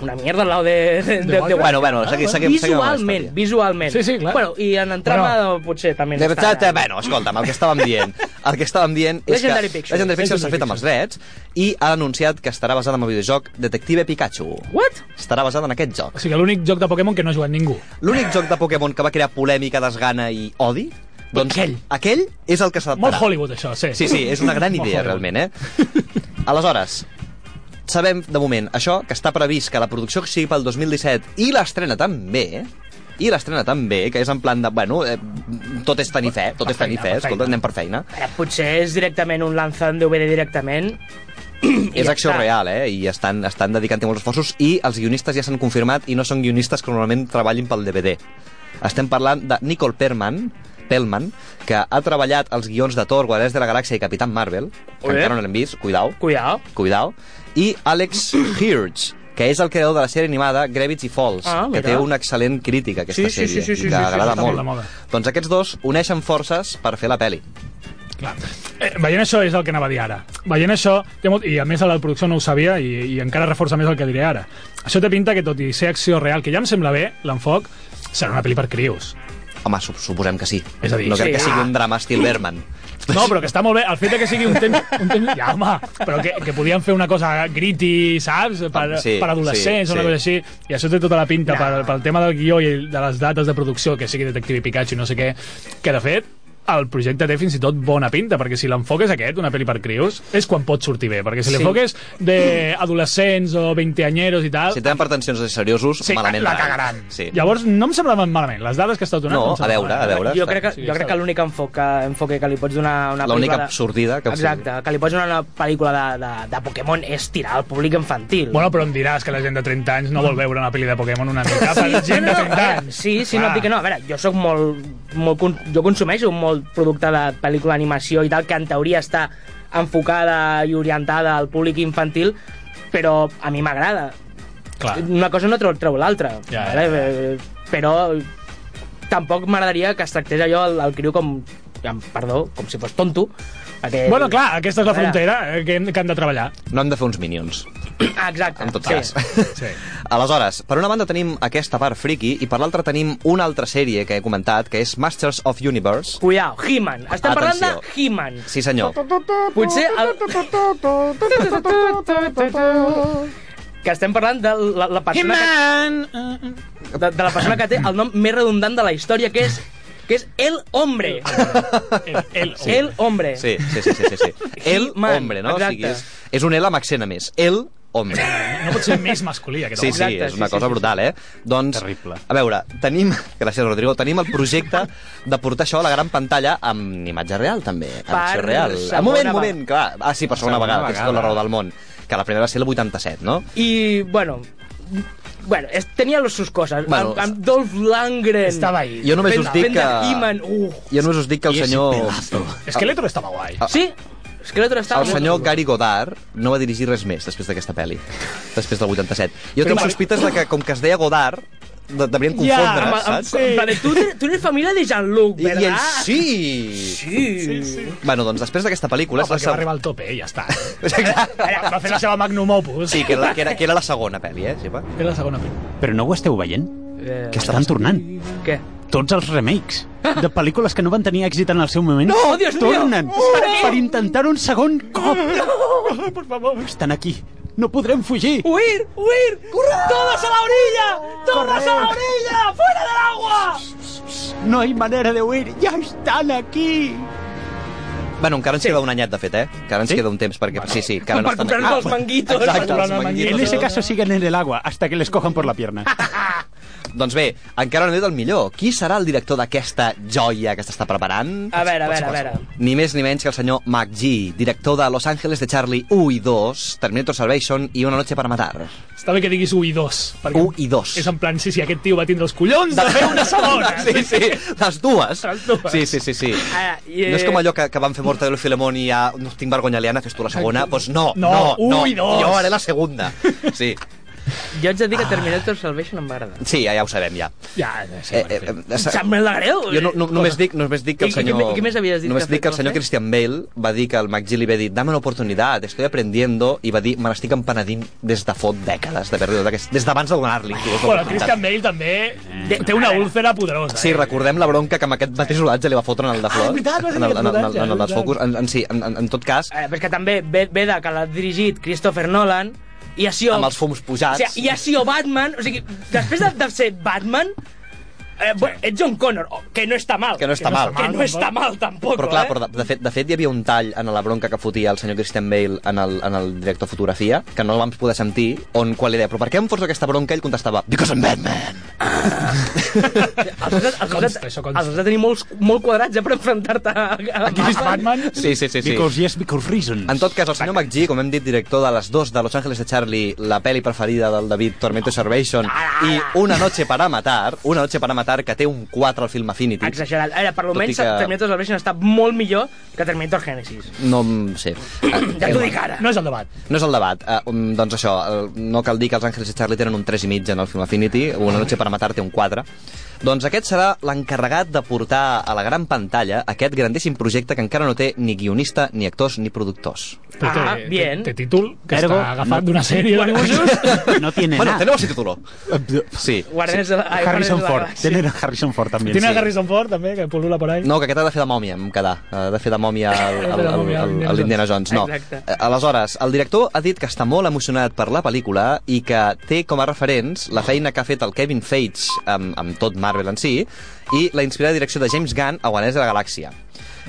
una mierda al lado de, de, de, de
Bueno, bueno, seguim, seguim, seguim amb la
visualment,
història.
visualment.
Sí, sí, clar.
Bueno, i en el trama bueno, potser també ens
De
està
veritat, eh,
agradant.
bueno, escolta'm, el que estàvem dient, el que estàvem dient és
Legendary
que
Pictures.
Legendary Pictures s'ha fet amb els drets i ha anunciat que estarà basada en el videojoc Detective Pikachu.
What?
Estarà basada en aquest joc.
O sigui, l'únic joc de Pokémon que no ha jugat ningú.
L'únic joc de Pokémon que va crear polèmica, desgana i odi Doncs
Aquell.
aquell és el que s'adaptarà.
Molt Hollywood, això, sí.
Sí, sí, és una gran
Molt
idea,
Hollywood.
realment, eh? Aleshores, sabem, de moment, això, que està previst que la producció sigui pel 2017 i l'estrena també, i l'estrena també, que és en plan de, bueno, eh, tot és tenir fe, tot
Per
és tenir
feina,
fe,
per
escolta,
feina.
anem per feina.
Ara, potser és directament un lanzant DVD directament. I
és
ja
acció
està.
real, eh? I estan, estan dedicant molts esforços i els guionistes ja s'han confirmat i no són guionistes que normalment treballin pel DVD. Estem parlant de Nicole Perman, Pellman, que ha treballat els guions de Thor, Guardians de la Galàxia i Capitán Marvel, que
Ole.
encara no l'hem vist, cuidao,
Cuidao.
cuidao, i Alex Hirsch, que és el creador de la sèrie animada Gravity Falls,
Ah,
que
mira.
té una excel·lent crítica, aquesta
Sí, sí,
sèrie,
sí, sí, sí,
i que
sí, sí,
agrada
està molt de moda.
molt. Doncs aquests dos uneixen forces per fer la peli.
Clar. Eh, veient això és el que anava a dir ara. Veient això, té molt... i a més a la producció no ho sabia i, i encara reforça més el que diré ara. Això té pinta que tot i ser acció real, que ja em sembla bé, l'enfoc, serà una pel·li per crios.
Home, sup- suposem que sí.
És a dir,
no crec
sí. ah.
que sigui un drama estil Berman.
No, però que està molt bé. El fet de que sigui un temps... Un temps ja, home, però que, que podien fer una cosa gritty, saps? Per,
Ah, Sí,
sí, per adolescents
sí,
sí, o una
sí.
cosa així. I això té tota la pinta pel, pel tema del guió i de les dates de producció, que sigui Detective Pikachu, no sé què. Que, de fet, el projecte té fins i tot bona pinta, perquè si l'enfoc és aquest, una pel·li per crios, és quan pot sortir bé, perquè si
Sí.
l'enfoc és d'adolescents o veinteanyeros i tal,
Si tenen pretensions de seriosos,
sí,
malament
la
van.
cagaran.
Sí.
Llavors, no em semblaven malament. Les dades que estàs donant...
No,
em semblaven
a veure, a
malament.
veure.
Jo crec que,
Sí,
jo
està
crec que
bé.
l'únic enfoc que, enfoque que li pots donar a una
L'única
pel·lícula de-
sortida que em
Exacte, que li pots donar a una pel·lícula de, de, de Pokémon és tirar al públic infantil.
Bueno, però em diràs que la gent de 30 anys no vol veure una pel·li de Pokémon una mica per
no,
gent de
no,
30
a veure,
anys.
sí, sí, no et dic que no. A veure, jo sóc molt, molt... con- Jo consumeixo molt producte de pel·lícula d'animació i tal, que en teoria està enfocada i orientada al públic infantil, però a mi m'agrada.
Eh.
Clar.
Una cosa no treu, treu l'altra.
Ah. Ja,
vale? Eh, Però tampoc m'agradaria que es tractés allò el, el criu com... amb- Perdó, com si fos tonto. Perquè...
Bueno, clar, aquesta és la
A veure.
frontera eh, que hem, que hem de treballar.
No hem de fer uns minions,
Ah, exacte.
en tot
sí.
cas. (laughs)
Sí.
Aleshores, per una banda tenim aquesta part friki i per l'altra tenim una altra sèrie que he comentat, que és Masters of Universe.
Cuidao, He-Man. Estem parlant de
Atenció.
He-Man.
Sí, senyor.
Potser... El... Que estem parlant de la, la persona que, de, de la persona que té el nom més redundant de la història, que és, que és El Hombre.
El, el,
Sí. El Hombre.
Sí, sí, sí, sí, sí,
(laughs)
sí. El
He-Man,
hombre, no? O sigui,
exacte.
és, és un L amb accent a més. El hombre.
No pot ser més masculí, aquest
Sí,
home.
sí,
Exacte,
és una
sí, sí,
cosa
sí,
brutal, eh? Doncs,
Terrible.
a veure, tenim... (laughs) Gràcies, Rodrigo. Tenim el projecte de portar això a la gran pantalla amb imatge real, també. Amb
Per
acció real.
segona
Un moment,
vegada.
moment, clar. Ah, sí, per segona,
Segona
vegada, tens tota la
vegada.
raó del món. Que la primera va ser el 87, no?
I, bueno... Bueno, es, tenia les sus coses.
Bueno,
Bueno, amb, amb Dolph Lundgren.
Estava ahí.
Jo només
fent-
us dic
fent de
que-
He-Man. Uh.
Jo només us dic que el senyor...
Esqueletor estava guai.
Ah,
Sí, Skeletor estava...
El senyor Gary Godard no va dirigir res més després d'aquesta pel·li, després del 87. Jo tinc sospites de que, com que es deia Godard, de, devrien confondre,
Ah,
yeah,
Amb, amb,
saps?
sí. Vale, tu, tu eres família de Jean-Luc,
I,
¿verdad?
I ell sí!
Sí. sí, sí.
Bueno, doncs després d'aquesta pel·lícula... és
No,
la
perquè va
seg-
arribar al tope, eh, ja està.
(laughs) Exacte.
Va fer la seva magnum opus.
Sí, que era, que, era, que era la segona pel·li, eh? Sí, va.
Era la segona pel·li.
Però no ho esteu veient?
Eh,
Que estan tornant.
Què?
Tots els remakes de pel·lícules que no van tenir èxit en el seu moment
No, Dios mío!
tornen
Oh,
Per què?
per intentar un segon cop. (laughs) No, per favor. Estan aquí. No podrem fugir.
¡Huir! ¡Huir! ¡Todos a la orilla! ¡Todos a la orilla! ¡Fuera del agua!
No hi manera de huir. Ja estan aquí.
Bueno, encara ens queda un anyet, de fet, eh? Encara ens queda un temps, perquè... Sí, sí, encara no
Per
estan
comprar-nos els
aquí.
manguitos.
Exacte,
comprar-nos
els
el manguito.
En
manguitos.
ese caso siguen en el agua hasta que les cojan por la
(laughs)
pierna.
Doncs bé, encara no he dit el millor. Qui serà el director d'aquesta joia que s'està preparant?
A veure, a veure, a veure.
Ni més ni menys que el senyor McGee, director de Los Ángeles de Charlie 1 i 2, Terminator Salvation i Una noche para matar.
Està bé que diguis 1 i 2. perquè
1 i 2.
És en plan, sí, sí, aquest tio va tindre els collons de fer una segona.
Sí, sí, les dues.
Ah, Les dues.
Sí, sí, sí, sí.
Ara, i, eh,
No és com allò que, que van fer Mortadelo i Filemón i ja no tinc vergonya aliena, fes tu la segona. Doncs no,
No,
no,
un
no.
i dos.
Jo haré la segunda. Sí,
Jo haig de dir que Terminator Salvation em va agradar.
sí ja, ja ho sabem, ja.
Ja, ja, sí,
Eh, eh,
bueno, en fi.
eh,
Em sap molt de greu.
Jo no, no, només, dic, només dic que el
I- i què
senyor...
me- què més havies dit
Només
que ha
dic que el
fet,
senyor
Rafael?
Christian Bale va dir que el McGee li va dir dame una oportunitat, estoy aprendiendo, i va dir me l'estic empenedint des de fot dècades, d'haver-li donat aquest- des d'abans de donar-li. inclús,
Bueno, el
l'oportunitat.
Christian Bale també té una úlcera poderosa. eh.
Sí, recordem la bronca que amb aquest mateix rodatge li va fotre en el de Flor.
Ah, és veritat, va ser
en el, en el, en el,
aquest
en el dels
rodatge,
Focus. En, en, sí, en, en, en tot cas,
Eh, però és que també ve, ve de que l'ha dirigit Christopher Nolan i així...
amb els fums
O
pujats...
sigui, I així o Batman... O sigui, després de, de ser Batman... Eh, bueno, ets John Connor, oh, que no està mal.
Que no està mal.
Que no està mal, tampoc,
Però clar,
eh?
però de, de, fet, de fet hi havia un tall en la bronca que fotia el senyor Christian Bale en el, en el director de fotografia, que no el vam poder sentir, on quan li deia, però per què em fots aquesta bronca? Ell contestava, because I'm Batman.
Els has, de- els, has de-
Consta, això
els
consta.
has de tenir molts, molt quadrats ja per enfrontar-te a, a
Aquí és Batman?
Sí, sí, sí. sí.
Because yes, because reasons.
En tot cas, el senyor McGee, com hem dit, director de les dos de Los Angeles de Charlie, la pel·li preferida del David Tormento Servation, i Una noche para matar, Una noche para matar, que té un 4 al film Affinity.
Exagerat. Ara, per
Tot i
almenys,
que-
que... Terminator Salvation està molt millor que Terminator Genesis.
No en sé.
Ja t'ho dic ara.
No és el debat.
No és el debat. Uh, doncs això, el, no cal dir que els Àngels de Charlie tenen un 3 i mig en el film Affinity, Una noche para matar té un 4. Doncs aquest serà l'encarregat de portar a la gran pantalla aquest grandíssim projecte que encara no té ni guionista, ni actors, ni productors.
Però
Ah,
té,
bien.
Té, té títol que
Ergo,
està agafat
no-
d'una sèrie. de
No tiene
bueno,
nada.
tenemos el título. Sí.
Guardians de la... ai,
Harrison
Guardians de la
Ford.
Galàxia.
Tiene a Harrison Ford també.
Tiene
sí.
a Harrison Ford, també, que pol·lula per ahí.
No, que aquest ha de fer de mòmia, em quedar. Ha de fer de mòmia al- al- al- al- a l'Indiana Jones. No.
Exacte.
Eh, Aleshores, el director ha dit que està molt emocionat per la pel·lícula i que té com a referents la feina que ha fet el Kevin Feige amb, amb tot Marvel en si i la inspirada direcció de James Gunn a Guanès de la Galàxia.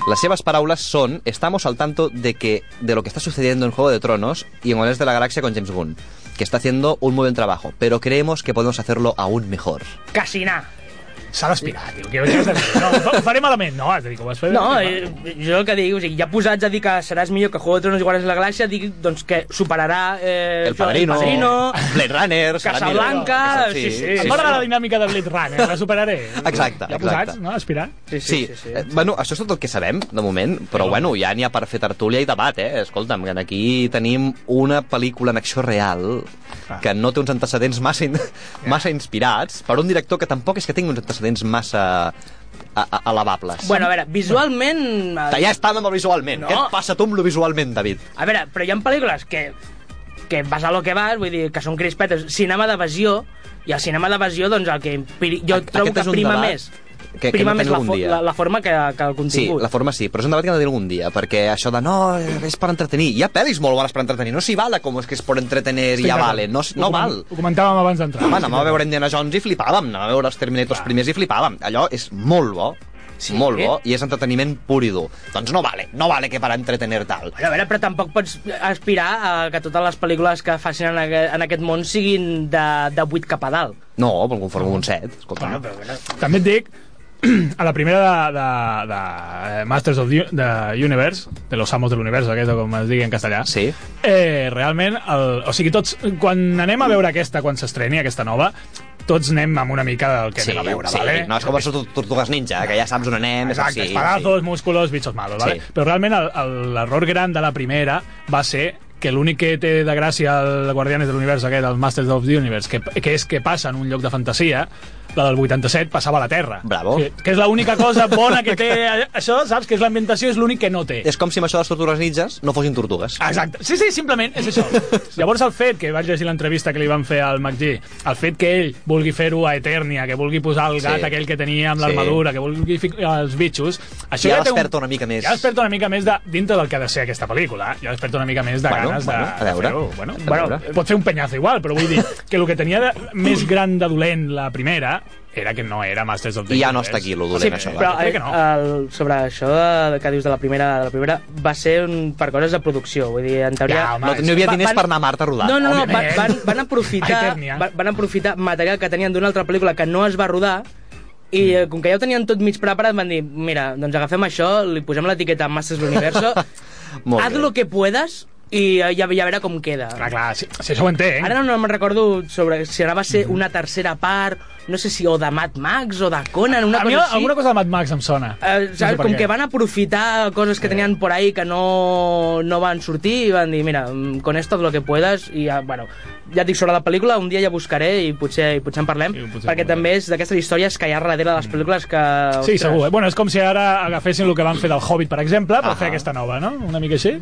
Les seves paraules són «Estamos al tanto de, que, de lo que está sucediendo en Juego de Tronos y en Guanès de la Galaxia con James Gunn, que está haciendo un muy buen trabajo, pero creemos que podemos hacerlo aún mejor».
Casinar.
S'ha d'aspirar, tio. Que, que has de dir, no, ho fa- ho faré malament. No, has de dir que ho vas fer.
No,
eh,
eh, jo el que dic, o sigui, ja posats a dir que seràs millor que Juego de Tronos i Guardians de la Galàxia, dic doncs, que superarà eh,
El Padrino,
el padrino
Blade Runner... serà
Casablanca,
millor.
sí, sí.
em va agradar la dinàmica de Blade Runner, la superaré.
Exacte,
ja
exacte.
posats, no? Aspirar.
Sí,
Sí,
sí, sí, sí. Eh, bueno, això és tot el que sabem, de moment, però bueno, ja n'hi ha per fer tertúlia i debat, eh? Escolta'm, que aquí tenim una pel·lícula en acció real que no té uns antecedents massa, in massa inspirats per un director que tampoc és que tingui uns antecedents massa a- a- elevables.
Bueno, a veure, visualment... eh,
ja està amb el visualment.
No.
Què et passa a tu amb lo visualment, David?
A veure, però hi ha pel·lícules que que vas a lo que vas, vull dir, que són crispetes. Cinema d'evasió, i el cinema d'evasió, doncs, el que impiri... jo
Aquest
trobo
és
que
un
prima
debat
més.
que- que
prima
hem de
més
tenir
la,
algun
fo-
dia.
la, la, forma que, que el
Sí,
contingut.
la forma sí, però és un debat que hem de tenir algun dia, perquè això de no, és per entretenir. Hi ha pel·lis molt bones per entretenir, no s'hi vala com és que és per entretenir i ja vale, no, s-
Ho
no
comen-
val.
Ho comentàvem abans d'entrar.
Home, anàvem a veure Indiana Jones i flipàvem, anàvem a veure els Terminators primers i flipàvem. Allò és molt bo, sí, molt bo, i és entreteniment pur i dur. Doncs no vale, no vale que per entretenir tal.
Bueno, a veure, però tampoc pots aspirar a que totes les pel·lícules que facin en, aquest, en aquest món siguin de, de 8 cap a dalt.
No, però conforme un set, escolta. Bueno, però,
També et dic, (clears throat) a la primera de, de, de Masters of the, the Universe, de los amos del univers, aquesta com es digui en castellà,
Sí.
eh, realment, el, o sigui, tots, quan anem a veure aquesta, quan s'estreni, aquesta nova, tots anem amb una mica del que
sí,
anem a veure,
sí,
vale?
no és com les tor- tortugues ninja, que ja saps on anem, és
Exacte,
així.
espadazos, músculos, bichos malos, ¿vale?
Sí.
Però realment el- el- l'error gran de la primera va ser que l'únic que té de gràcia el Guardianes de l'Univers aquest, el Masters of the Universe, que, que és que passa en un lloc de fantasia, la del 87 passava a la Terra.
Bravo.
Que, que és l'única cosa bona
(laughs)
que té a- això, saps? Que és l'ambientació, és l'únic que no té.
Sí. És com si amb això de les tortugues ninjas no fossin tortugues.
Exacte. Sí, sí, simplement és
(laughs)
això. Llavors el fet que vaig llegir l'entrevista que li van fer al McGee, el fet que ell vulgui fer-ho a Eternia, que vulgui posar el gat
Sí.
sí. aquell que tenia amb
Sí.
l'armadura, que vulgui ficar els bitxos... Això
Ja
té
desperta una mica més.
Ja desperta una mica més de, dintre del que ha de ser aquesta pel·lícula. eh? Ja desperta una mica més de
Bueno,
ganes
bueno,
de,
a veure.
de fer-ho. Bueno,
A
bueno,
veure.
pot fer un penyazo igual, però vull dir que el que tenia de, més gran de dolent la primera era que no era Masters of the
I ja no
Universe.
està aquí, lo dolent,
sí,
això.
Però
va.
crec
eh,
que no.
el, sobre això de, que dius de la primera, de la primera va ser un, per coses de producció, vull dir, en teoria...
Ja, home, eh.
No, no hi havia
Va-
diners
van-
per anar a Marte a rodar.
No, no, no, van,
Òbviament.
van, van, aprofitar,
Eternia.
van, van aprofitar material que tenien d'una altra pel·lícula que no es va rodar i
Mm.
eh, com que ja ho tenien tot mig preparat van dir, mira, doncs agafem això, li posem l'etiqueta Masters del
(laughs)
Universo,
Molt
haz
bé.
lo que puedas i eh, ja, ja veurà com queda.
Clar, clar, si, si això ho entenc.
Ara no me'n recordo sobre si ara va ser una tercera part, no sé si o de Mad Max o de Conan, una
a mi
cosa així.
alguna cosa de Mad Max em sona.
Eh,
No sé
saps?
per
com
què. Eh.
que van aprofitar coses que tenien por ahí que no, no van sortir i van dir, mira, mm, con esto lo que puedas i ja, bueno, ja et dic sobre la pel·lícula un dia ja buscaré i potser, i potser en parlem
I potser
perquè
en parlem.
també és d'aquestes històries que hi ha darrere de les pel·lícules que...
Sí,
ostres,
segur. Eh? Bueno, és com si ara agafessin el que van fer del Hobbit, per exemple, per
Ahà.
fer aquesta nova, no? Una mica
(laughs)
així.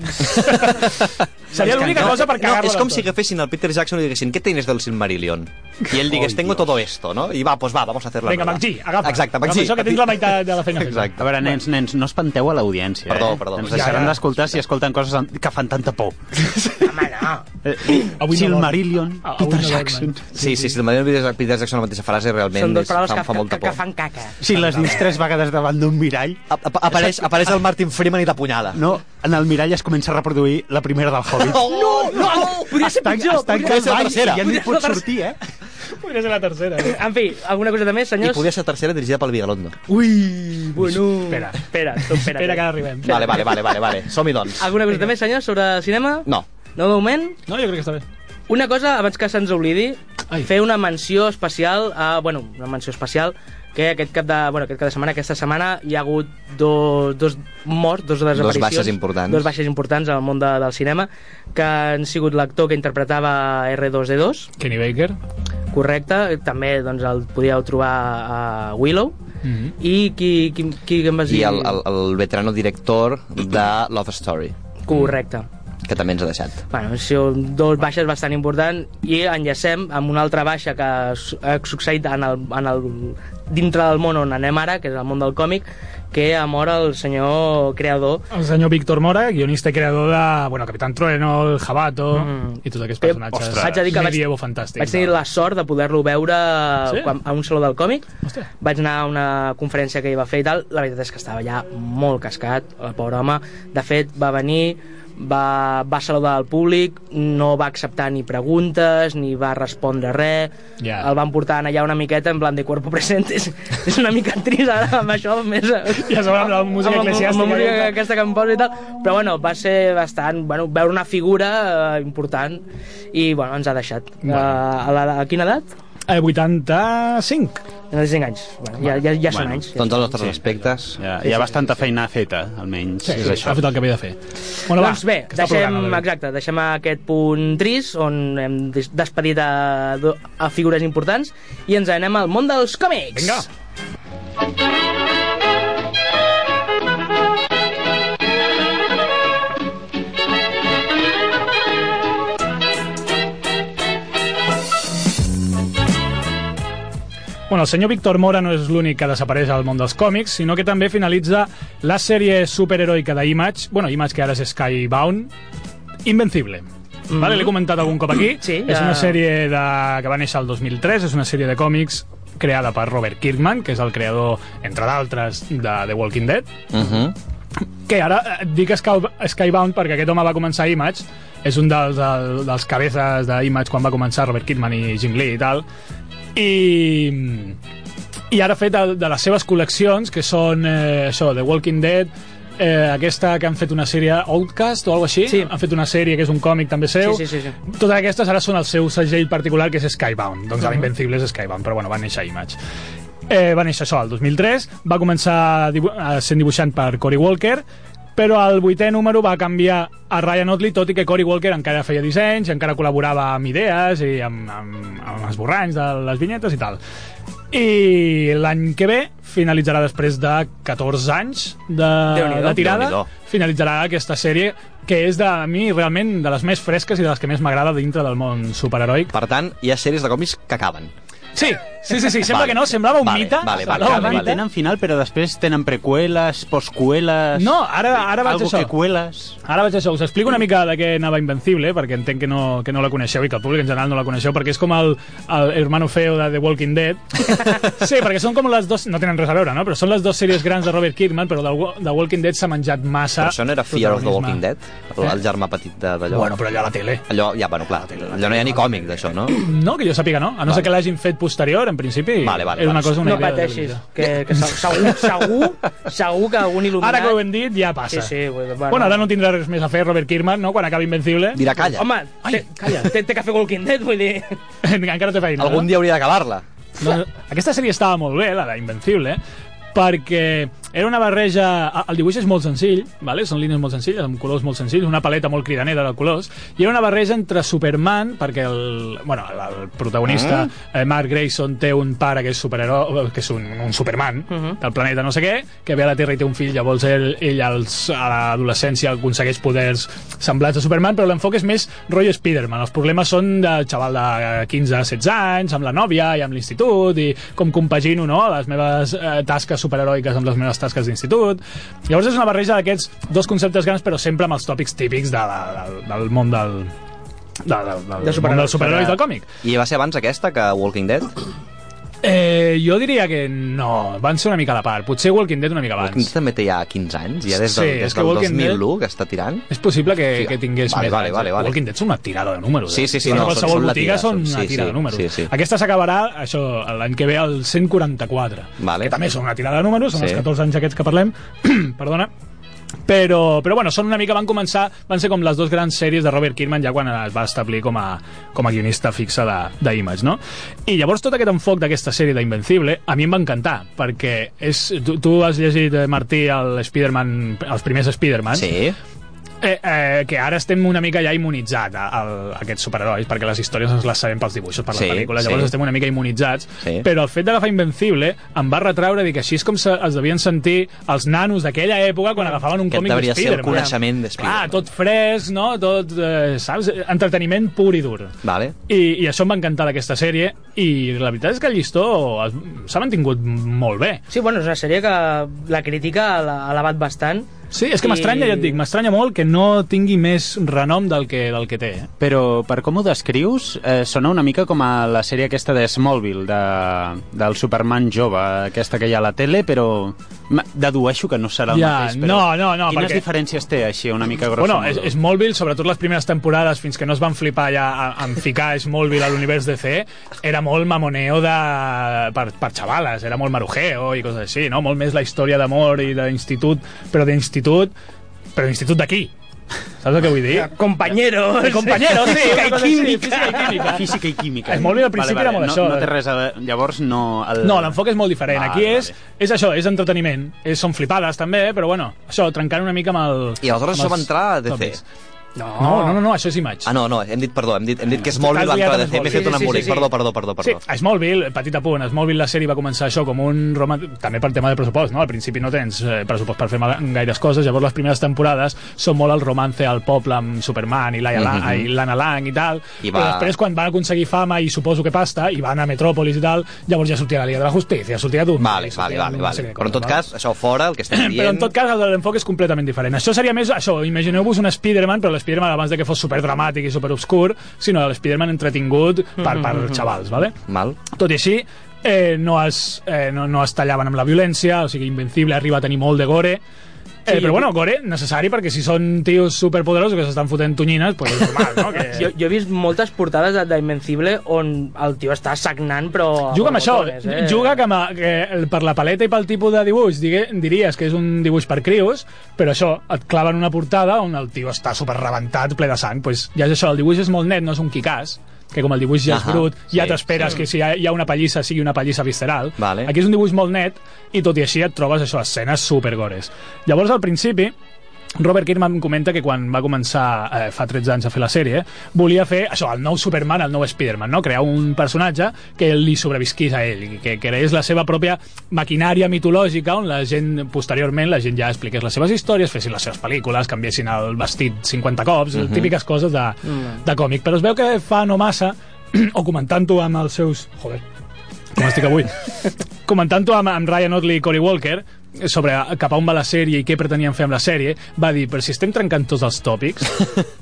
Seria l'única cosa per
no,
cagar-la.
és com
del
si
tot.
agafessin el Peter Jackson i diguessin ¿Qué tienes del Silmarillion? I ell
(laughs)
digués, tengo todo esto, no? I va, pues va, vamos a hacerlo.
Vinga, McGee, agafa.
Exacte,
Agafa
McGee.
això que tens la meitat de la feina feta.
Exacte.
A veure, nens, nens, no espanteu a l'audiència.
Perdó,
eh?
perdó.
Ens
Doncs
Ja,
deixaran
ja. (laughs)
d'escoltar si escolten coses que fan tanta por.
Home, no.
Eh,
Avui no vol.
Silmarillion Silmarillion,
Ah, avui
Peter
no dormen.
Jackson.
Sí, sí, sí, el Marion Peter Peter Jackson, la mateixa frase,
eh?
realment
Són dues
és,
paraules
fa,
que,
fa molta
que, que
por.
fan caca.
Si les dius tres vegades davant d'un mirall,
Ap- ap- Apareix, apareix el Martin Freeman i t'apunyala.
no, en el mirall es comença a reproduir la primera del
(laughs)
Hobbit.
no, no,
Podria ser
Tan,
pitjor!
tan
podria
que
ser
el bany
tercera.
ja no hi
Oh! Podria ser
pot
la tercera.
sortir, eh?
Podria ser la tercera. eh?
En fi, alguna coseta més,
I
senyors?
podia ser tercera dirigida pel Vigalondo.
Ui,
Bueno...
Espera.
Espera, tu, espera.
Espera que ara arribem.
Vale, vale, vale, vale, vale. som-hi doncs.
Alguna coseta més, senyors, sobre cinema?
No.
No, de moment?
No, jo crec que està bé.
Una cosa, abans que se'ns oblidi,
Ai.
fer una menció especial, a, bueno, una menció especial, que aquest cap de, bueno, aquest cap de setmana, aquesta setmana, hi ha hagut dos, dos morts, dos desaparicions.
baixes importants.
Dos baixes importants al món de, del cinema, que han sigut l'actor que interpretava R2-D2,
Kenny Baker.
correcte, també doncs, el podíeu trobar a Willow,
Mhm.
i qui, qui, qui em vas dir?
I el, el, el veterano director de Love Story,
Correcte.
que també ens ha deixat.
Bueno, són dos baixes bastant importants i enllacem amb una altra baixa que s- ha succeït en el, en el, dintre del món on anem ara, que és el món del còmic, que ha mort el senyor creador
El senyor Víctor Mora, guionista i creador de, bueno, Capitán Trueno, El Jabato
Mm.
i tots aquests
Eh,
personatges.
ostres. Vaig a dir que vaig-
Medievo fantàstic.
Vaig tenir la sort de poder-lo veure
Sí?
quan, a un saló del còmic.
Ostres.
Vaig anar a una conferència que hi va fer i tal. La veritat és que estava ja molt cascat, el pobre home. De fet, va venir, va, va saludar al públic, no va acceptar ni preguntes, ni va respondre res.
Ja.
El van portar allà una miqueta en plan de cuerpo present. És, (laughs) és una mica trist ara amb això, més... eh?
Ja sobre la música
amb la-
eclesiàstica.
Amb la música aquesta que em posa i tal. Però bueno, va ser bastant... Bueno, veure una figura eh, important i bueno, ens ha deixat. Bueno. a, la, a quina edat?
Eh, 85.
En els 5 anys. Bueno, ja, ja, ja són
Bueno,
anys. Ja.
Doncs els nostres respectes.
Ja, hi ha bastanta feina feta, almenys.
Sí, sí, ha fet el que havia de fer. Bueno,
Doncs bé,
que està
deixem,
plorant, Adrià.
exacte, deixem aquest punt trist on hem des- despedit a, do- a figures importants i ens anem al món dels còmics.
Vinga. Bueno, el senyor Víctor Mora no és l'únic que desapareix al món dels còmics, sinó que també finalitza la sèrie superheroica d'Image, bueno, Image que ara és Skybound, Invencible. Vale, L'he comentat algun cop aquí.
Mm-hmm. Sí,
és
ja.
una sèrie de... que va néixer el 2003, és una sèrie de còmics creada per Robert Kirkman, que és el creador, entre d'altres, de The Walking Dead,
Uh -huh.
que ara eh, dic Sky, Skybound perquè aquest home va començar a Image, és un dels, del, dels cabezes d'Image quan va començar Robert Kirkman i Jim Lee i tal, i, i ara ha fet de, de les seves col·leccions, que són eh, això, The Walking Dead, eh, aquesta que han fet una sèrie Outcast o alguna així,
Sí.
han fet una sèrie que és un còmic també seu,
Sí, sí, sí, sí.
totes aquestes ara són el seu segell particular, que és Skybound. Doncs
Mhm.
ara Invencible és Skybound, però bueno, va néixer a Image. Eh, va néixer això, el 2003, va començar dibu eh, sent dibuixant per Cory Walker, però el vuitè número va canviar a Ryan Otley, tot i que Cory Walker encara feia dissenys, encara col·laborava amb idees i amb, amb, amb esborranys de les vinyetes i tal. I l'any que ve finalitzarà després de 14 anys de,
Déu-n'hi-do.
de tirada
Déu-n'hi-do.
finalitzarà aquesta sèrie que és de a mi realment de les més fresques i de les que més m'agrada dintre del món superheroic.
Per tant, hi ha sèries de còmics que acaben.
Sí, sí, sí, sí sembla
Vale.
que no, semblava un
Vale,
mite.
vale, vale,
semblava un
vale,
mite.
vale.
Tenen final, però després tenen preqüeles, postcueles...
No, ara- ara vaig a
algo
això.
que cueles...
Ara vaig a això, us explico una mica de què anava Invencible, eh, perquè entenc que no, que no la coneixeu i que el públic en general no la coneixeu, perquè és com el, el hermano feo de The Walking
(laughs)
Dead. Sí, perquè són com les dues... No tenen res a veure, no? Però són les dues sèries grans de Robert Kirkman, però de, The Walking Dead s'ha menjat massa...
Però això no era Fear of the
protagonisme.
Walking Dead? El, el germà petit de- d'allò?
Bueno, però allò a la tele.
Allò, ja, bueno, clar, allò no hi ha ni còmic d'això, no?
No, que jo sàpiga, no. A no ser
Vale.
que l'hagin fet posterior, en principi.
Vale, vale,
Era una
vale.
cosa, una
No
idea de
pateixis,
televisió.
que, que se- segur, segur, segur que algun il·luminat...
Ara que ho hem dit, ja passa.
Sí, sí, bueno,
Bueno, ara no tindrà res més a fer Robert Kirkman, no?, quan acabi Invencible.
Dirà, calla,
Home,
Ai,
té,
calla.
Té, té que fer Walking Dead, vull dir...
(laughs) Encara té feina, eh?
algun
no?
dia hauria d'acabar-la.
Doncs, aquesta sèrie estava molt bé, la d'Invencible, perquè era una barreja... El dibuix és molt senzill, vale? són línies molt senzilles, amb colors molt senzills, una paleta molt cridanera de colors, i era una barreja entre Superman, perquè el, bueno, el, el protagonista, eh, Mark Grayson, té un pare que és superheroi, que és un, un Superman, del planeta no sé què, que ve a la Terra i té un fill, llavors ell, ell als, a l'adolescència aconsegueix poders semblants a Superman, però l'enfoc és més rotllo Spiderman. Els problemes són del xaval de 15-16 anys, amb la nòvia i amb l'institut, i com compagino no, les meves eh, tasques superheroiques amb les meves tasques d'institut. Llavors és una barreja d'aquests dos conceptes grans, però sempre amb els tòpics típics de la, del, del món del, de, de, de,
De
de
superherois.
superherois, dels superherois del còmic.
I va ser abans aquesta que Walking Dead?
Eh, jo diria que no, van ser una mica a la part. Potser Walking Dead una mica
Walking Dead
abans.
també té ja 15 anys, ja des
Sí,
del,
és
des
que
del
Walking
2001
Dead-
que està tirant.
És possible que,
Sí,
que tingués
vale,
més
vale,
anys,
vale,
eh?
vale.
Walking Dead són una tirada de números.
Sí,
eh?
sí, sí,
Bueno,
no, són-
qualsevol
són la
botiga
tirada,
són
són-
una
sí,
tirada
sí,
de números.
sí, sí.
Aquesta s'acabarà això l'any que ve al 144,
Vale.
que també són una tirada de números, són
Sí.
els 14 anys aquests que parlem. (clears throat) Perdona. Però, però bueno, són una mica, van començar, van ser com les dues grans sèries de Robert Kirkman ja quan es va establir com a, com a guionista fixa de- d'Image, no? I llavors tot aquest enfoc d'aquesta sèrie d'Invencible a mi em va encantar, perquè és, tu, tu has llegit, eh, Martí, el Spider-Man, els primers Spider-Man,
Sí,
Eh, eh, que ara estem una mica ja immunitzats a, a, a aquests superherois, perquè les històries ens les sabem pels dibuixos, per les
Sí,
pel·lícules,
sí.
llavors estem una mica immunitzats,
Sí.
però el fet d'agafar Invencible em va retraure dir que així és com se, es devien sentir els nanos d'aquella època quan agafaven un
Aquest
còmic de
devia ser el
Spider-Man.
coneixement de
Ah,
Spider-Man.
tot fresc, no? Tot, eh, saps? Entreteniment pur i dur.
vale.
I, i això em va encantar d'aquesta sèrie i la veritat és que el llistó es- s'ha mantingut molt bé
Sí, bueno, és una sèrie que la crítica l'ha l'ha elevat bastant.
sí, és que m'estranya, ja et dic, m'estranya molt que no tingui més renom del que, del que té eh?
Però per com ho descrius, eh, sona una mica com a la sèrie aquesta de Smallville, de, del Superman jove, aquesta que hi ha a la tele, però ma- dedueixo que no serà el
Ja,
mateix. Però
no, no, no,
Quines
perquè-
diferències té, així, una mica grosso
Bueno, és,
modo?
és Smallville, sobretot les primeres temporades, fins que no es van flipar ja a, a en ficar Smallville a l'univers DC, era molt mamoneo de, per, per xavales, era molt marujeo i coses així, no? Molt més la història d'amor i d'institut, però d'institut, però d'institut d'aquí. Saps el que vull dir?
Companyeros!
Companyeros, sí,
Física i
una cosa així, física i química.
Física i química.
És molt bé, al principi era molt
no,
això,
No
eh?
té res a... veure- Llavors no... El...
No, l'enfoc és molt diferent.
Vale,
Aquí és,
vale.
és això, és entreteniment. És, són flipades, també, però bueno, això, trencant una mica amb el...
I aleshores
amb
això va
els
entrar a DC.
tòpics. No, no, no, no, això és imatge.
Ah, no, no, hem dit, perdó, hem dit, hem dit que Smallville va
liat
entrar a
amb
DC, m'he
Smallville.
fet un
Sí, sí,
embolic,
sí, sí.
perdó, perdó, perdó,
Sí,
perdó.
a Smallville, eh, petit apunt, a Smallville la sèrie va començar això com un rom... també per tema de pressupost, no? Al principi no tens eh, pressupost per fer ma- gaires coses, llavors les primeres temporades són molt el romance al poble amb Superman i l'Ana mm -hmm. Lang, Lang i tal,
Mhm. I
I
va-
va... però després quan van aconseguir fama i suposo que pasta, i van a Metròpolis i tal, llavors ja sortia la Liga de la Justícia, sortia Doom.
Vale,
i sortia
vale, vale,
una
vale.
sèrie de
Però en
coses,
tot
val?
cas, això fora, el que estem dient...
(clears throat) Però en tot cas l'enfoc és completament diferent. Això seria més això, imagineu-vos un Spider-Man, però l'Spider-Man abans de que fos superdramàtic i superobscur, sinó l'Spider-Man entretingut per, per
Mhm.
xavals, vale?
Mal.
Tot i així, eh, no, es, eh, no, no es tallaven amb la violència, o sigui, Invencible arriba a tenir molt de gore, Eh,
Sí,
però
jo-
bueno, gore necessari perquè si són tios superpoderosos que s'estan fotent tonyines, pues és normal,
(laughs)
no?
Eh.
Que...
Jo, jo he vist moltes portades de- d'Invencible on el tio està sagnant, però...
Juga amb això,
botones, eh?
juga que, ma- que el- per la paleta i pel tipus de dibuix digue, diries que és un dibuix per crios, però això, et claven una portada on el tio està super rebentat, ple de sang, pues, ja és això, el dibuix és molt net, no és un quicàs, que com el dibuix ja és
Ahà,
brut, ja
sí,
t'esperes que si hi ha, hi ha una pallissa sigui una pallissa visceral.
Vale.
Aquí és un dibuix molt net i tot i així et trobes això, escenes supergores. Llavors, al principi, Robert Kirkman comenta que quan va començar eh, fa 13 anys a fer la sèrie, volia fer això, el nou Superman, el nou Spider-Man, no? crear un personatge que li sobrevisquís a ell, que creés la seva pròpia maquinària mitològica on la gent, posteriorment, la gent ja expliqués les seves històries, fessin les seves pel·lícules, canviessin el vestit 50 cops, uh -huh. típiques coses de, de còmic. Però es veu que fa no massa, (clears throat) o comentant-ho amb els seus... Joder, com estic avui comentant-ho amb, amb Ryan Otley i Cory Walker eh, sobre cap a on va la sèrie i què pretenien fer amb la sèrie, va dir, però si estem trencant tots els tòpics,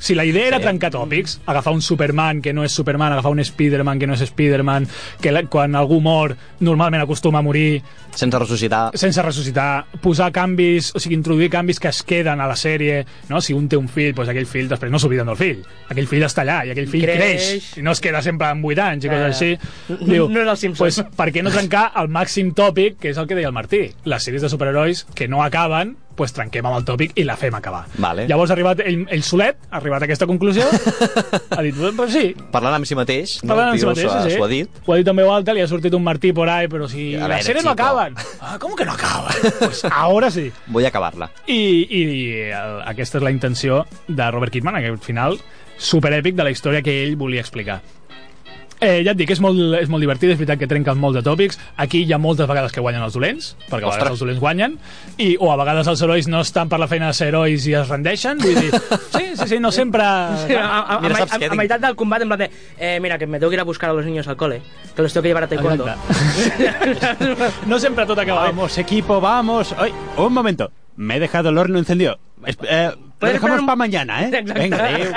si la idea era trencar tòpics, agafar un Superman que no és Superman, agafar un Spider-Man que no és Spider-Man, que la, quan algú mor normalment acostuma a morir,
Sense ressuscitar...
sense ressuscitar, posar canvis, o sigui, introduir canvis que es queden a la sèrie, no? Si un té un fill, doncs aquell fill després no s'obliden del fill. Aquell fill està allà i aquell fill
Creix.
creix, i no es queda sempre amb 8 anys i coses
Ja,
així.
ja. No era el Simpson.
Pues, per què no trencar el màxim tòpic, que és el que deia el Martí? Les sèries de superherois que no acaben, pues trenquem amb el tòpic i la fem acabar.
Vale.
Llavors ha arribat ell, ell solet, ha arribat a aquesta conclusió, ha dit, pues sí,
Parlant amb si mateix, no? El
Parlant amb si
tio
mateix,
s'ho ha-
sí, sí.
S'ho ha dit.
Ho ha dit també Walter, li ha sortit un Martí por ahí, però si
A veure,
les sèries no
chico.
acaben. Ah, com que no acaben? (laughs) pues ahora sí.
Vull acabar-la.
I, i, el, aquesta és la intenció de Robert Kidman, aquest final superèpic de la història que ell volia explicar. Eh, ja et dic, és molt, és molt divertit, és veritat que trenquen molt de tòpics. Aquí hi ha moltes vegades que guanyen els dolents, perquè a
Ostres.
vegades els dolents guanyen, i, o a vegades els herois no estan per la feina de ser herois i es rendeixen. Vull dir, sí, sí, sí, no sempre...
Sí, a,
(laughs)
a, a,
Mira,
a,
saps
a,
què?
a meitat del combat en plan de eh, mira, que me tengo que ir a buscar a los niños al cole que los tengo que llevar a taekwondo
No sempre tot acaba bé.
Vamos, equipo, vamos. Ay, un momento. Me he dejado el horno encendido. Es- eh, Lo
Podem
dejamos
esperar un-
pa
(laughs)
mañana, eh?
Exacte.
Vinga, adéu.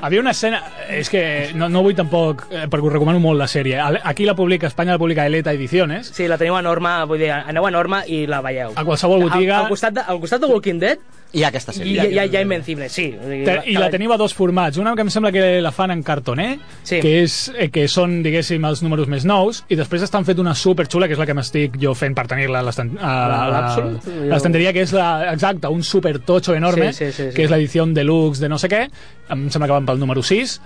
Havia una escena... És que no, no vull tampoc... Eh, perquè us recomano molt la sèrie. Al- Aquí la publica, a Espanya la publica Eleta Ediciones.
Sí, la teniu a Norma, vull dir, aneu a Norma i la veieu.
A qualsevol botiga...
Al, al, costat, de, al costat de Walking Dead
Hi ha aquesta
hi,
sèrie.
hi, hi, ha- hi ha Invencible, sí. O sigui,
Te- I la teniu a dos formats. Una que em sembla que la fan en cartoner,
Sí.
que, és, eh, que són, diguéssim, els números més nous, i després estan fet una superxula, que és la que m'estic jo fent per tenir-la a l'estan- a
Ah,
la- a la-
L'Absolute?
a l'estanteria, que és la, exacte, un supertotxo enorme,
Sí, sí, sí, sí.
que és l'edició deluxe de no sé què, em sembla que van pel número 6,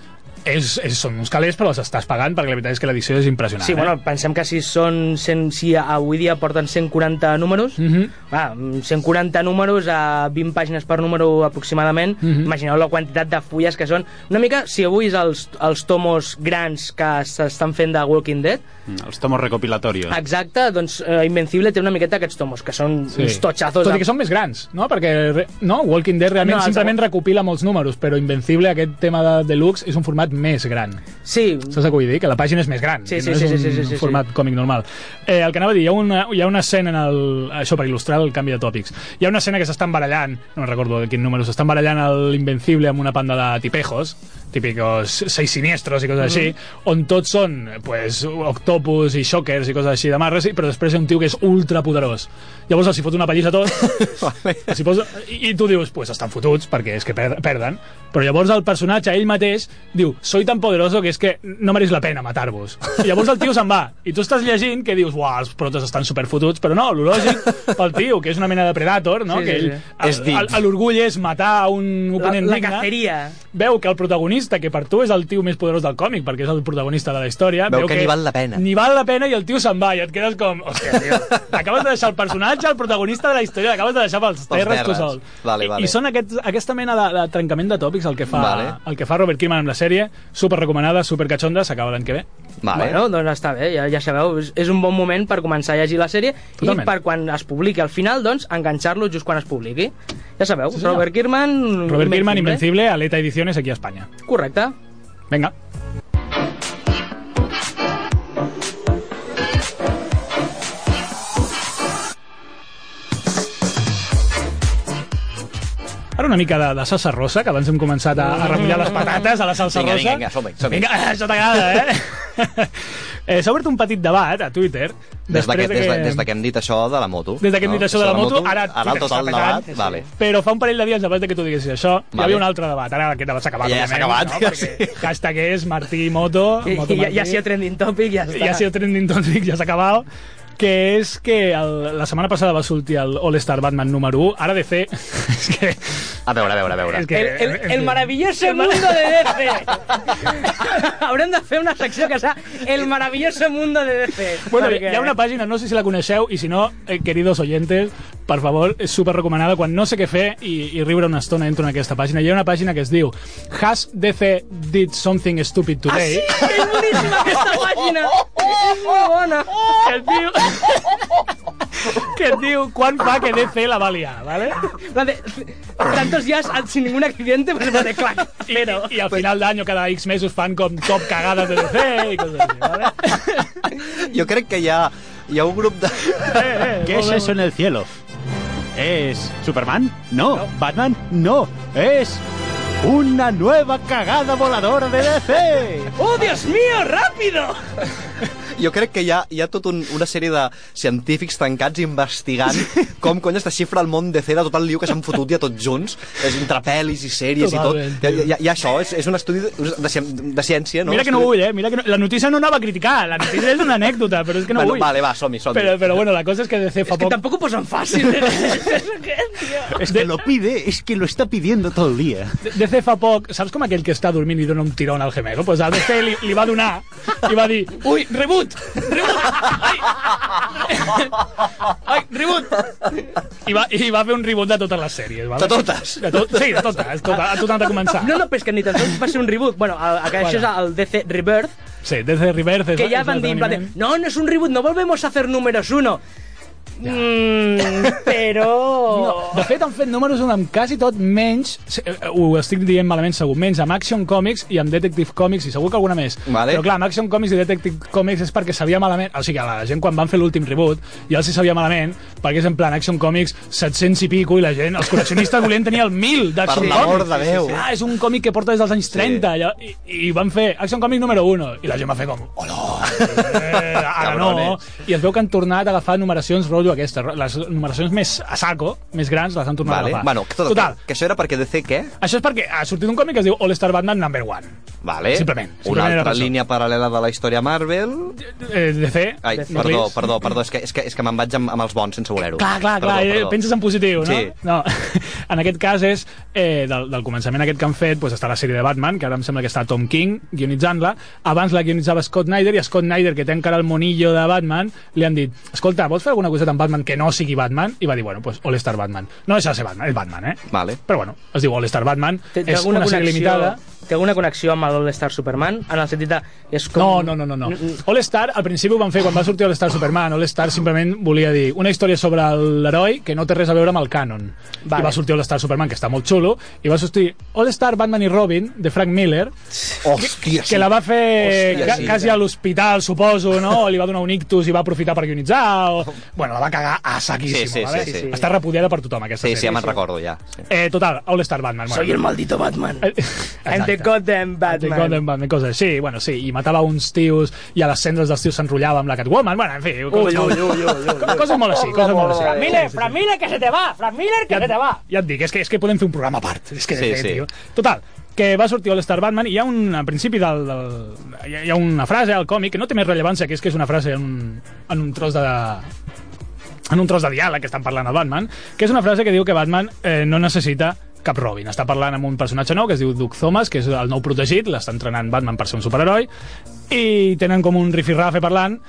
és, és, són uns calés, però els estàs pagant, perquè la veritat és que l'edició és impressionant.
Sí,
eh?
bueno, pensem que si són 100, si avui dia porten 140 números,
Mhm.
va, mm, 140 números a 20 pàgines per número aproximadament,
Mhm.
imagineu la quantitat de fulles que són. Una mica, si avui és els, els tomos grans que s'estan fent de Walking Dead,
Els Mm, tomos recopilatorios.
Ah.
exacte, doncs eh, Invencible té una miqueta aquests tomos, que són sí. uns totxazos.
Tot
de-
i que són més grans, no? Perquè re- no, Walking Dead realment
No, els-
simplement recopila molts números, però Invencible, aquest tema de deluxe, és un format més gran.
Sí,
Saps què vull dir? Que la pàgina és més gran.
Sí,
que
sí,
no
sí,
és
sí,
un
sí, sí, sí, sí.
format còmic normal. Eh, el que anava a dir, hi ha una, hi ha una escena en el... Això per il·lustrar el canvi de tòpics. Hi ha una escena que s'estan barallant, no me'n recordo de quin número, s'estan barallant l'Invencible amb una panda de tipejos, típicos seis siniestros i coses així,
Mm-hmm.
on tots són eh, pues, octopus i shockers i coses així de marres, i- però després hi ha un tio que és ultra poderós. Llavors els hi fot una pallissa
(laughs)
a tots, els hi posa, i, i tu dius, pues estan fotuts, perquè és que per, perden. Però llavors el personatge, ell mateix, diu, soy tan poderoso que és que no mereix la pena matar-vos. I llavors el tio se'n va, i tu estàs llegint que dius, uah, els protes estan superfotuts, però no, lo lògic pel tio, que és una mena de predator, no?
Sí, sí,
que ell,
sí.
a-
És dit.
a- a L'orgull és matar un
la,
oponent
la
digne
caceria.
veu que el protagonista, que per tu és el tio més poderós del còmic, perquè és el protagonista de la història...
Veu que ni val la pena.
Ni val la pena i el tio se'n va i et quedes com... Hòstia, tio, acabes de deixar el personatge, el protagonista de la història, l'acabes de deixar pels
Pels
terres tu
terres.
sol.
Vale,
I,
vale.
I són aquest, aquesta mena de, de trencament de tòpics el que fa,
Vale.
el que fa Robert Kirkman amb la sèrie, super recomanada, super catxonda, s'acaba l'any que ve.
Vale.
Bueno, doncs està bé, ja, ja sabeu, és, és un bon moment per començar a llegir la sèrie
Totalment.
i per quan es publiqui al final, doncs, enganxar-lo just quan es publiqui. Ja sabeu, sí, Robert Kirkman...
Robert Kirkman, Invencible, Aleta Ediciones, aquí a Espanya.
Correcte.
Vinga. Ara una mica de, de salsa rosa, que abans hem començat a, a remullar les patates a la salsa
Mm. Vinga,
rosa.
vinga, vinga, som-hi, som-hi.
Vinga, això t'agrada,
(laughs)
eh? eh S'ha obert un petit debat a Twitter.
Des, de que,
després
des, de, des de que hem dit això de la moto.
Des de que hem dit això de la moto, ara
ara
Twitter
tot
està
el
petant.
debat, vale.
Però fa un parell de dies, abans de que tu diguessis això, vale. hi
Vale.
havia un altre debat. Ara aquest debat s'ha acabat.
Ja, ja s'ha
òbviament,
acabat,
No?
ja
Perquè Hashtaguers, Martí Moto...
I,
Moto
i ja, ja
Martí
sigui trending topic, ja està.
ja ha sido trending topic, ja s'ha acabat que és que el, la setmana passada va sortir el All-Star Batman número 1, ara de fer... (laughs) És que...
A veure, a veure, a
(laughs)
veure.
És que
El, el, el maravilloso mundo de
(laughs)
DC. Haurem de fer una secció que serà El maravilloso mundo de DC.
Bueno,
perquè-
hi ha una pàgina, no sé si la coneixeu, i si no, eh, queridos oyentes, per favor, és super recomanada. Quan no sé què fer i, i riure una estona entro en aquesta pàgina. Hi ha una pàgina que es diu Has DC did something stupid
Ah, sí?
today?
És boníssima aquesta pàgina! És molt bona!
Que et diu... que et diu (laughs) quan fa que DC la va liar, ¿vale?
La de, tantos días sin ningún accidente, pues la de clac.
I, I al final d'any, cada X mesos, fan com top cagades de DC i coses així, ¿vale?
Jo crec que hi ha, hi ha un grup de...
Eh, eh,
¿Qué es
molt bé,
eso en el cielo? ¿Es Superman? No. ¿Batman? No. Es una nueva cagada voladora de DC.
¡Oh, Dios mío, rápido!
Jo crec que hi ha, hi ha tot un, una sèrie de científics tancats investigant com cony es desxifra el món de C de tot el liu que s'han fotut ja tots junts, és entre pel·lis i sèries
Totalment,
i tot. Hi ha, hi ha, hi ha això, és, és un estudi de, de, ci- de ciència, no?
Mira que no vull, eh? Mira que no... La notícia no anava a criticar, la notícia és una anècdota, però és que no
bueno,
vull.
Vale, va, som-hi, som-hi.
Però, però bueno, la cosa és que DC fa
Que
poc...
tampoco pues posan fácil.
(laughs)
Es que lo pide, es que lo está pidiendo todo el día.
DC fa poc, saps com aquell que està dormint i dona un tirón al gemelo? Doncs pues a DC li, li va donar i va dir Ui, rebut! Rebut! Ai! Ai, rebut! I va, I va fer un rebut de totes les sèries, vale?
De totes?
De tot, sí, de totes, tot, a tot han de començar.
No, no, però és que ni tan sols va ser un reboot. Bueno, el, el, això és el DC Rebirth,
Sí, DC Rebirth... és-
que ja
és
van dir, en plan de,
l'esdeveniment. (laughs)
no, no és un reboot, no volvemos a hacer números uno. Mm, però...
No, de fet, han fet números amb quasi tot menys, eh, eh, ho estic dient malament segur, menys amb Action Comics i amb Detective Comics, i segur que alguna més.
Vale.
Però clar, amb Action Comics i Detective Comics és perquè sabia malament, o sigui, a la gent quan van fer l'últim reboot, ja els hi sabia malament, perquè és en plan Action Comics 700 i pico, i la gent, els col·leccionistes (laughs) volien tenir el 1000 d'Action
Per l'amor
Comics.
de Déu.
Ah, és un còmic que porta des dels anys 30, allò, i, i van fer Action Comic número 1, i la gent va fer com, hola, eh, ara no.
Cabrones.
I es veu que han tornat a agafar numeracions rotllo aquestes, les numeracions més a saco, més grans, les han tornat
Vale.
a agafar.
Bueno, tot,
Total,
Que això era perquè DC què?
això és perquè ha sortit un còmic que es diu All Star Batman Number One.
Vale.
Simplement,
Una
simplement era per
altra
això.
línia paral·lela de la història Marvel.
Eh, DC,
Ai,
Netflix.
perdó, perdó, perdó, és que, és que, és que me'n vaig amb, amb els bons sense voler-ho.
Clar, clar, clar,
Perdó,
eh,
perdó.
penses en positiu, no?
Sí.
No, (laughs) en aquest cas és, eh, del, del començament aquest que han fet, doncs està la sèrie de Batman, que ara em sembla que està Tom King guionitzant-la, abans la guionitzava Scott Snyder, i a Scott Snyder, que té encara el monillo de Batman, li han dit, escolta, vols fer alguna coseta amb Batman que no sigui Batman? I va dir, bueno, doncs All Star Batman. No deixa de ser Batman, és Batman, eh?
Vale.
Però bueno, es diu All Star Batman,
Té, té
és
alguna
una sèrie
connexió,
limitada...
Té alguna connexió amb l'All Star Superman? En el sentit de... És com...
No, no, no, no, no. All Star, al principi ho van fer quan va sortir All Star Superman. All Star simplement volia dir una història sobre l'heroi que no té res a veure amb el cànon.
Vale.
Vale. I va sortir All Star Superman, que està molt xulo, i va sortir All Star Batman i Robin, de Frank Miller,
Hòstia,
que la va fer
Hòstia,
ca
sí.
quasi a l'hospital, suposo, no? O li va donar un ictus i va aprofitar per guionitzar, o... Bueno, la va cagar a saquíssim,
Sí, sí,
vale?
sí,
sí.
Està repudiada per tothom, aquesta
Sí, sí, ja
sèrie.
me'n recordo, ja. Sí.
Eh, total, All Star Batman. Bueno. Eh,
Soy el maldito Batman.
(laughs)
And the
Exacte.
goddamn Batman.
Batman. Golden Batman, coses així, bueno, sí, i matava uns tios i a les cendres dels tios s'enrotllava amb la Catwoman, bueno, en fi,
Ui, ui, ui, ui, ui, ui.
coses molt així, coses molt així.
Miller, Frank Miller, que se te va, Frank Miller, que
ja,
se te va.
ja et dic, és que, és que podem fer un programa a part, és que,
Sí,
sí,
sí.
sí. tio. Total, que va sortir All-Star Batman i hi ha un, al principi del, del hi, ha, hi ha una frase al còmic que no té més rellevància que és que és una frase en un, en un tros de en un tros de diàleg que estan parlant al Batman, que és una frase que diu que Batman eh, no necessita cap Robin. Està parlant amb un personatge nou que es diu Duke Thomas, que és el nou protegit, l'està entrenant Batman per ser un superheroi, i tenen com un rifirrafe parlant,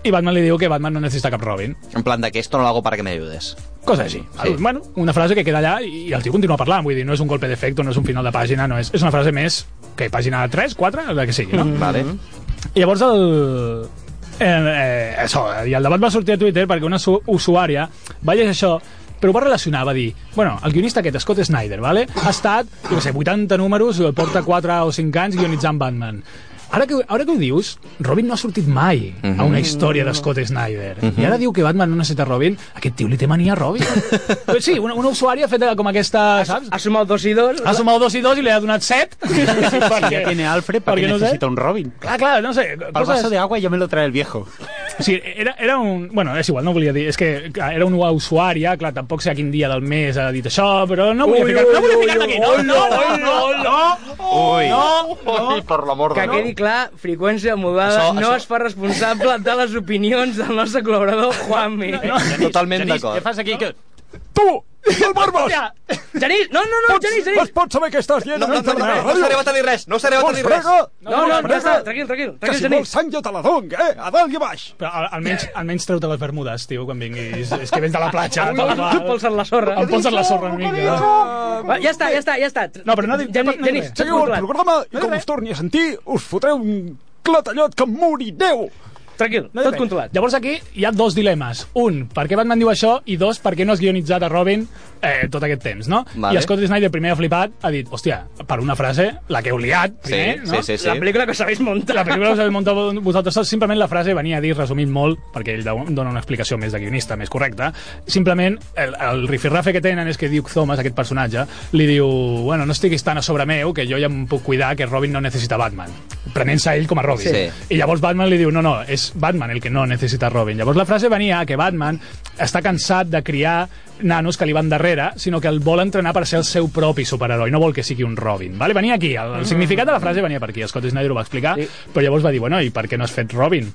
i Batman li diu que Batman no necessita cap Robin.
En plan de que esto no lo hago para que me ayudes.
Cosa així.
Sí.
Sí. Bueno, una frase que queda allà i i el tio continua parlant. Vull dir, no és un golpe d'efecte, no és un final de pàgina, no és... És una frase més que pàgina 3, 4, la que sigui, no? Mm.
Vale.
I llavors el... Eh, eh, això, i el debat va sortir a Twitter perquè una su- usuària va llegir això però ho va relacionar, va dir bueno, el guionista aquest, Scott Snyder, vale? ha estat, jo què sé, 80 números porta 4 o 5 anys guionitzant Batman ara que, ara que ho dius, Robin no ha sortit mai a una història de Scott Snyder. I ara diu que Batman no necessita Robin. Aquest tio li té mania a Robin. Però sí, una, una usuària ha fet com aquesta, saps?
Ha sumat dos i dos.
Ha sumat dos i dos i li ha donat set.
Si ya tiene Alfred, ¿para
Perquè
qué
no sé.
necesita un Robin?
Clar, clar, no sé.
Para el
coses-
vaso de agua yo me lo trae el viejo.
Sí, era, era un... Bueno, és igual, no volia dir... És que clar, era una usuària, clar, tampoc sé a quin dia del mes ha dit això, però no volia
Ui,
ficar... No
ui,
volia
ui,
ficar-me aquí! No,
ui,
no, no,
ui, ui,
no, no!
Ui. No, no. Ui, per l'amor
Que quedi clar, freqüència modada
Això-
no
això-
es fa responsable de les opinions del nostre col·laborador Juanmi. No, no.
Totalment
¿Qué
d'acord.
pasa aquí? ¿Qué-
Tu! El Barbas!
Genís, no, no, no, Genís, Genís.
pots saber què estàs dient
No, no, no, no, no us a dir res, no us a dir res.
No, no, ja està, tranquil, tranquil, tranquil, Genís.
sang jo te la donc, eh? A dalt i a baix. Però al- almenys, almenys treu-te les bermudes, tio, quan vinguis. És que vens de la platja. tal qual.
Tu polses la sorra.
Em poses la sorra una mica.
Va, ja està, ja està, ja està.
No, però no dic-
Genís,
no dic
Genís,
res.
tot controlat.
programa i com us torni a sentir us fotreu un clatallot que morireu.
Tranquil,
No
tot
depèn.
controlat.
Llavors aquí hi ha dos dilemes. Un, per què Batman diu això? I dos, per què no has guionitzat a Robin eh, tot aquest temps, no?
Vale.
I Scott Snyder primer ha flipat, ha dit, hòstia, per una frase, la que heu liat, primer,
Sí,
no?
sí, sí, sí.
La pel·lícula que us habéis muntat.
La pel·lícula us haveu muntat vosaltres sols, simplement la frase venia a dir, resumint molt, perquè ell do- dona una explicació més de guionista, més correcta, simplement el, el rifirrafe que tenen és que Duke Thomas, aquest personatge, li diu, bueno, no estiguis tan a sobre meu, que jo ja em puc cuidar que Robin no necessita Batman, prenent-se ell com a Robin.
Sí.
I llavors Batman li diu, no, no, és Batman el que no necessita Robin. Llavors la frase venia a que Batman està cansat de criar nanos que li van darrere, sinó que el vol entrenar per ser el seu propi superheroi, no vol que sigui un Robin. Vale? Venia aquí, el, el significat de la frase venia per aquí, Scott Snyder ho va explicar,
Sí.
sí. però llavors va dir, bueno, i per què no has fet Robin?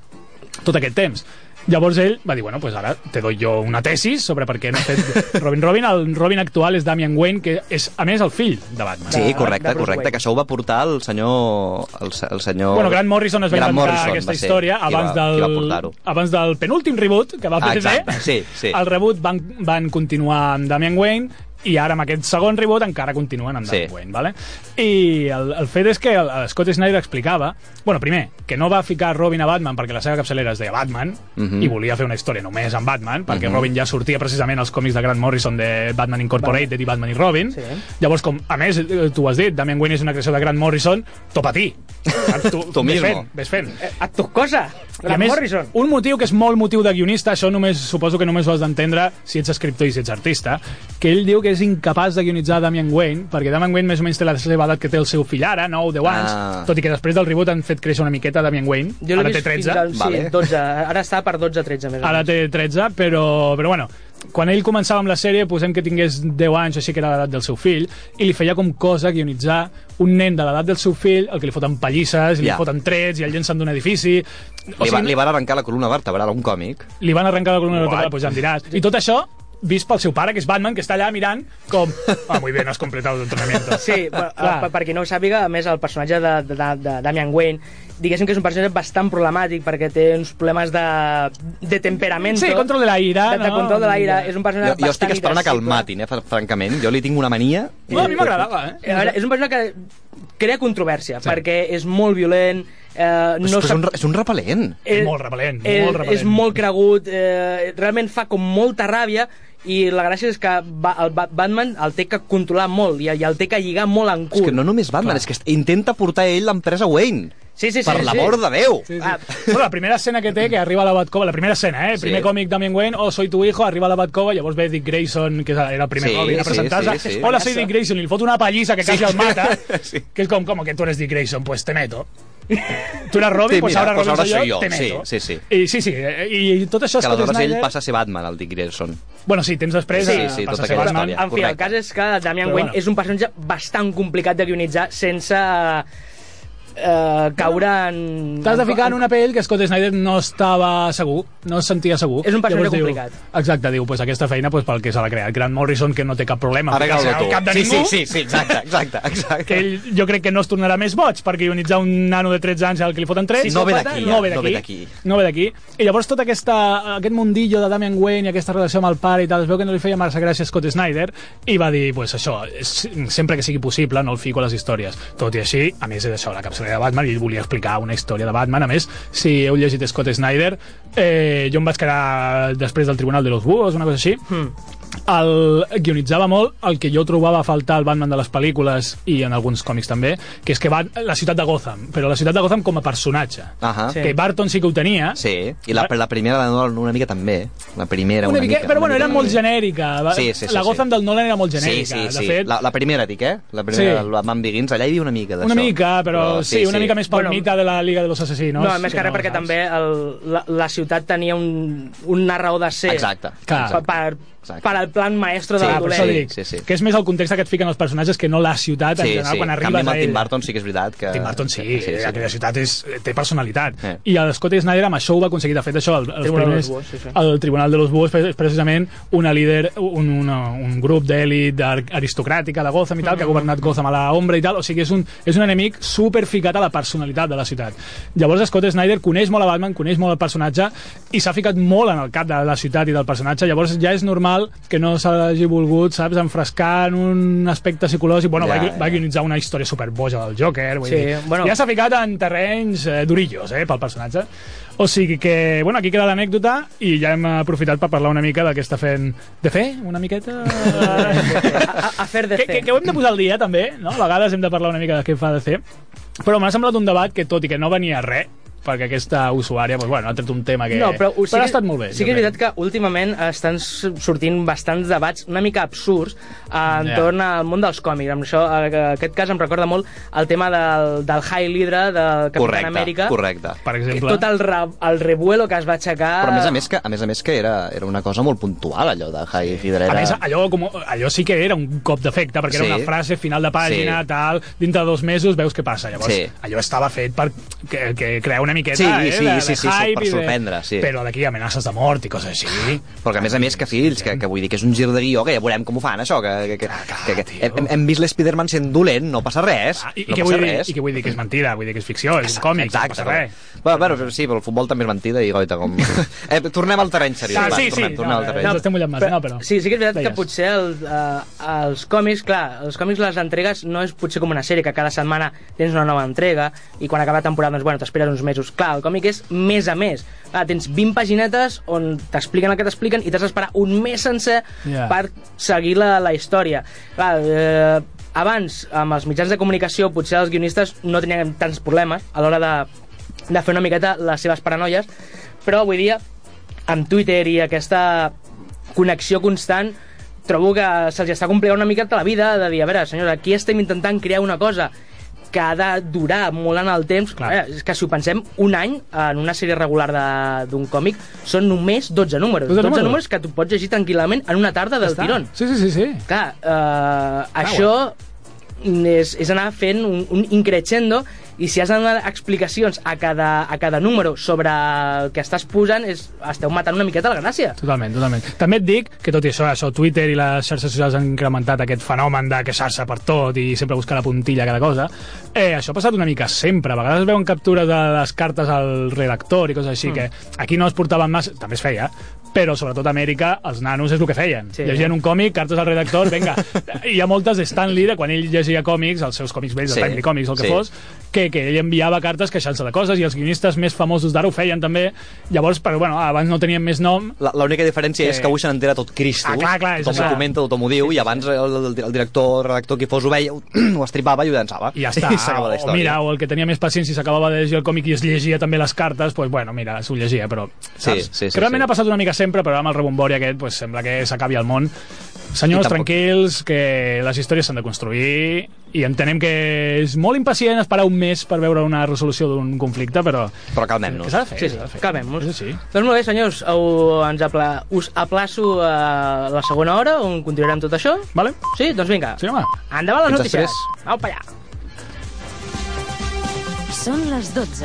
tot aquest temps. Llavors ell va dir, bueno, pues ara te doy jo una tesis sobre per què no he fet Robin Robin. El Robin actual és Damian Wayne, que és, a més, el fill de Batman.
Sí, correcte,
de Bruce
correcte,
Wayne.
que això ho va portar el senyor... El, se- el senyor...
Bueno, Grant Morrison es va
Grant
inventar
Morrison
aquesta
va ser
història
qui
abans,
va, qui va
del,
portar-ho.
abans del penúltim reboot que va
Ah,
fer
exacte,
DC.
sí, sí.
El reboot van, van continuar amb Damian Wayne i ara amb aquest segon reboot encara continuen amb Dark
Sí.
Wayne, vale? I el, el fet és que el, el Scott Snyder explicava, bueno, primer, que no va ficar Robin a Batman perquè la seva capçalera es deia Batman
Mhm.
i volia fer una història només amb Batman, perquè
Mhm.
Robin ja sortia precisament als còmics de Grant Morrison de Batman Incorporated i Batman i Robin.
Sí.
Llavors, com, a més, eh, tu ho has dit, Damian Wayne és una creació de Grant Morrison, topa a
(laughs)
ti. Tu,
Tu
vés
mismo.
fent, vés fent.
A tu cosa,
I a
Grant
més,
Morrison.
un motiu que és molt motiu de guionista, això només suposo que només ho has d'entendre si ets escriptor i si ets artista, que ell diu que és incapaç de guionitzar Damian Wayne, perquè Damian Wayne més o menys té la seva edat que té el seu fill ara, 9 o 10 anys,
Ah.
tot i que després del reboot han fet créixer una miqueta Damian Wayne,
Jo l'he
ara té
vist
13,
Fins al,
Vale.
Sí, 12. Ara està per 12-13, més o
ara
menys.
té 13, però, però bueno, quan ell començava amb la sèrie, posem que tingués 10 anys, així que era l'edat del seu fill, i li feia com cosa guionitzar un nen de l'edat del seu fill, el que li foten pallisses, i li
Ja.
foten trets, i el llencen d'un edifici... O
Li, va, li van arrencar la columna vertebral a un còmic.
li van arrencar la columna vertebral,
What?
doncs ja em diràs. I tot això vist pel seu pare, que és Batman, que està allà mirant com... Ah, muy bien, has completado el entrenamiento. (laughs)
Sí, per,
Clar.
per, per qui no ho sàpiga, a més, el personatge de, de, de, de Damian Wayne, diguéssim que és un personatge bastant problemàtic perquè té uns problemes de, de temperament.
Sí, control de la ira,
De, de
no?
control de l'aire. És un
Jo,
personatge
jo estic
bastant
esperant a que el
irascible.
matin, eh, fr- francament. Jo li tinc una mania.
No, a mi m'agradava, eh?
A veure, és un personatge que crea controvèrsia, sí. perquè és molt violent, eh,
No
no
és,
sap...
un, re- és un repel·lent.
eh,
Molt repel·lent,
eh,
molt repel·lent.
És molt cregut, eh, realment fa com molta ràbia, i la gràcia és que ba el Ba- Batman el té que controlar molt i, i el té que lligar molt en
És
cul.
que no només Batman, és que est- intenta portar ell l'empresa Wayne.
Sí, sí, sí,
per
sí.
l'amor de Déu.
Sí, sí.
Ah,
Ah,
Bueno, la primera escena que té, que arriba a la Batcova, la primera escena, eh? El primer
Sí.
còmic Damien Wayne, oh, soy tu hijo, arriba a la Batcova, llavors ve Dick Grayson, que era el primer
Sí,
Robin a
sí,
presentar-se.
sí, sí.
Hola, soy Dick Grayson, i li fot una pallissa que
Sí.
casi el mata,
(laughs) Sí.
que és com, com que tu eres Dick Grayson, pues te meto. Tu eres Robin,
Sí,
pues
mira,
ahora
pues
Robin
ahora
soy
soy
yo,
yo,
te meto.
sí, sí, sí.
I sí, sí, eh, i, i tot això...
que
Scott
aleshores ell
Snyder-
passa a ser Batman, el Dick Grayson.
Bueno, sí, temps després...
Sí,
eh,
sí, tota
passa a
aquesta
ser Batman.
història.
En fi, el
Correcte.
cas és que Damian
Però
Wayne
bueno.
és un personatge bastant complicat de guionitzar sense eh, caure en...
T'has de ficar en una pell que Scott Snyder no estava segur, no es sentia segur.
És un personatge
Llavors diu-
complicat.
exacte, diu, pues aquesta feina pues, pel que se l'ha creat. Grant Morrison, que no té cap problema. en
Ara
ficar-se
cago
al
tu.
cap de
sí,
ningú,
sí, sí, sí, exacte, exacte. exacte.
que ell jo crec que no es tornarà més boig per guionitzar un nano de 13 anys al que li foten 3.
Sí, no ve d'aquí,
no ve
eh? No ve
d'aquí.
d'aquí.
No ve d'aquí. I llavors tot aquesta, aquest mundillo de Damian Wayne i aquesta relació amb el pare i tal, es veu que no li feia massa gràcia a Scott Snyder i va dir, pues això, és- sempre que sigui possible no el fico a les històries. Tot i així, a més és això, la capçalera de Batman, i ell volia explicar una història de Batman. A més, si heu llegit Scott Snyder, eh, jo em vaig quedar després del Tribunal de los Búhos, una cosa així, el guionitzava molt el que jo trobava a faltar al Batman de les pel·lícules i en alguns còmics també, que és que va la ciutat de Gotham, però la ciutat de Gotham com a personatge.
Ahà.
Sí.
Que Barton sí que ho tenia,
Sí, i la, la primera de Nolan una mica també. La primera una,
una, mica, però bueno, era molt genèrica. va-
Sí, sí, sí,
la Gotham
sí.
del Nolan era molt
Sí,
genèrica.
sí, sí.
De fet,
la, la primera, dic, eh? La primera,
Sí.
sí. la Man Begins, allà hi havia una mica d'això.
una mica, però sí, una mica més
Bueno,
palmita de la Liga de los Asesinos.
No, més que res perquè
saps?
també el, la, la ciutat tenia un, una raó de ser
Exacte.
per,
Clar.
exacte.
per,
Exacte.
per al plan maestro de
Sí,
la
Ah, per això
sí,
dic,
dolent.
sí, sí.
que és més el context que et fiquen els personatges que no la ciutat en
Sí,
general
sí.
quan
En
arribes
canvi, amb
a
el Tim
ell.
Burton sí que és veritat que...
Tim Burton sí,
Ah, Sí, sí, sí.
aquella ciutat és, té personalitat.
Eh.
I el Scott Snyder amb això ho va aconseguir. De fet, això, el, els
Tribunal de los
primers,
Búhos, sí, sí.
el Tribunal de los Búhos és precisament una líder, un, una, un grup d'èlit ar- aristocràtica de Gotham i tal, que
Mm.
ha governat Gotham a la ombra i tal. O sigui, és un, és un enemic superficat a la personalitat de la ciutat. Llavors, Scott Snyder coneix molt a Batman, coneix molt el personatge i s'ha ficat molt en el cap de la ciutat i del personatge. Llavors, ja és normal que no s'hagi volgut, saps, enfrescar en un aspecte psicològic. Bueno,
Ja,
va,
ja.
va guionitzar una història superboja del Joker, Vull
Sí,
dir,
bueno.
Ja s'ha ficat en terrenys eh, durillos, eh, pel personatge. O sigui que, bueno, aquí queda l'anècdota i ja hem aprofitat per parlar una mica del que està fent de fer,
(laughs)
una miqueta...
A, a fer de
que, que, que ho hem de posar al dia, també, no? A vegades hem de parlar una mica de què fa de fer. Però m'ha semblat un debat que, tot i que no venia res, perquè aquesta usuària, doncs, bueno, ha tret un tema que...
No, però, ho- sí que-
però ha estat molt bé.
Sí que és veritat que últimament estan s- sortint bastants debats una mica absurds eh, entorn al món dels còmics. Amb això, eh, que aquest cas em recorda molt el tema del, del High Lydra del Capitán
Correcte,
Amèrica.
correcte.
Per
Que tota
exemple...
tot el, re, el revuelo que es va aixecar...
Però a més a més que, a més a més que era, era una cosa molt puntual, allò de High Hydra.
A
Era...
més, allò, com, allò sí que era un cop d'efecte, perquè
Sí.
sí. era una frase final de pàgina, sí.
Sí.
tal, dintre de dos mesos veus què passa. Llavors, sí.
Sí.
allò estava fet per que, que crear una miqueta,
Sí,
eh,
sí,
de,
sí, sí,
de
sí,
hype
per
i de-
sorprendre, sí.
Però d'aquí amenaces de mort i coses així.
Perquè a més a més que fills, que, que vull dir que és un gir de guió, que ja veurem com ho fan això, que, que, que, que, que hem, hem vist l'Spiderman sent dolent, no passa res,
I, Ah, i,
no
què
passa
vull dir,
res.
I què vull dir? Que és mentida, vull dir que és ficció, és un còmic, no passa
però-
res.
Bueno, bueno, però sí, però el futbol també és mentida i goita
(laughs)
com... eh, tornem al terreny seriós,
Ah,
va,
sí, sí,
tornem, tornem
no,
al
eh,
terreny.
ens estem mullant massa, no, però...
Sí, sí que és veritat que
Deies.
potser el, eh, els còmics, clar, els còmics les entregues no és potser com una sèrie que cada setmana tens una nova entrega i quan acaba la temporada doncs, bueno, t'esperes uns mesos. Clar, el còmic és més a més. Clar, tens 20 paginetes on t'expliquen el que t'expliquen i t'has d'esperar un mes sencer
Ja.
yeah. per seguir la, la història. Clar, eh, abans, amb els mitjans de comunicació, potser els guionistes no tenien tants problemes a l'hora de, de fer una miqueta les seves paranoies, però avui dia, amb Twitter i aquesta connexió constant, trobo que se'ls està complicant una miqueta la vida de dir, a veure, senyors, aquí estem intentant crear una cosa que ha de durar molt en el temps.
Clar.
Clar. és que si ho pensem, un any en una sèrie regular de- d'un còmic són només 12 números.
12
12,
números.
números que tu pots llegir tranquil·lament en una tarda del tirón.
Sí, sí, sí, sí.
Clar, eh, això és, és anar fent un, un increixendo i si has de donar explicacions a cada, a cada número sobre el que estàs posant, és, esteu matant una miqueta la gràcia.
Totalment, totalment. També et dic que tot i això, això, Twitter i les xarxes socials han incrementat aquest fenomen de queixar-se per tot i sempre buscar la puntilla a cada cosa, eh, això ha passat una mica sempre. A vegades es veuen captures de les cartes al redactor i coses així, que aquí no es portaven massa... També es feia, però sobretot a Amèrica els nanos és el que feien.
Sí.
Sí. Llegien un còmic, cartes al redactor, vinga. I (laughs) hi ha moltes de Stan Lee, de quan ell llegia còmics, els seus còmics vells,
Sí,
sí. de Timely Comics, el que
sí.
sí. fos, que, que ell enviava cartes queixant-se de coses i els guionistes més famosos d'ara ho feien també. Llavors, però, bueno, abans no tenien més nom,
La- L'única diferència és que avui se n'entera tot Cristo.
Ah, clar, clar, és
tothom
això.
ho comenta, tothom ho diu, i abans el, el, el director, el redactor, qui fos ho veia, (clears throat) ho, ho estripava (laughs) i ho llançava.
i ja està.
I s'acaba la
o
història.
mira, o el que tenia més paciència i s'acabava de llegir el còmic i es llegia també les cartes, doncs, bueno, mira, s'ho llegia, però... Saps?
sí, sí,
que realment
sí.
ha passat una mica sempre, però amb el rebombori aquest doncs, sembla que s'acabi el món. Senyors,
I tampoc-
tranquils, que les històries s'han de construir i entenem que és molt impacient esperar un mes per veure una resolució d'un conflicte, però...
Però calmem-nos.
Que s'ha de fer,
Sí, sí,
s'ha de fer.
calmem-nos.
És així.
Doncs molt bé, senyors, ho, ens apla, us aplaço a la segona hora on continuarem tot això.
Vale?
Sí, doncs vinga.
Sí, home.
Endavant les
Fins
notícies.
després.
Au, pa allà.
Són les 12.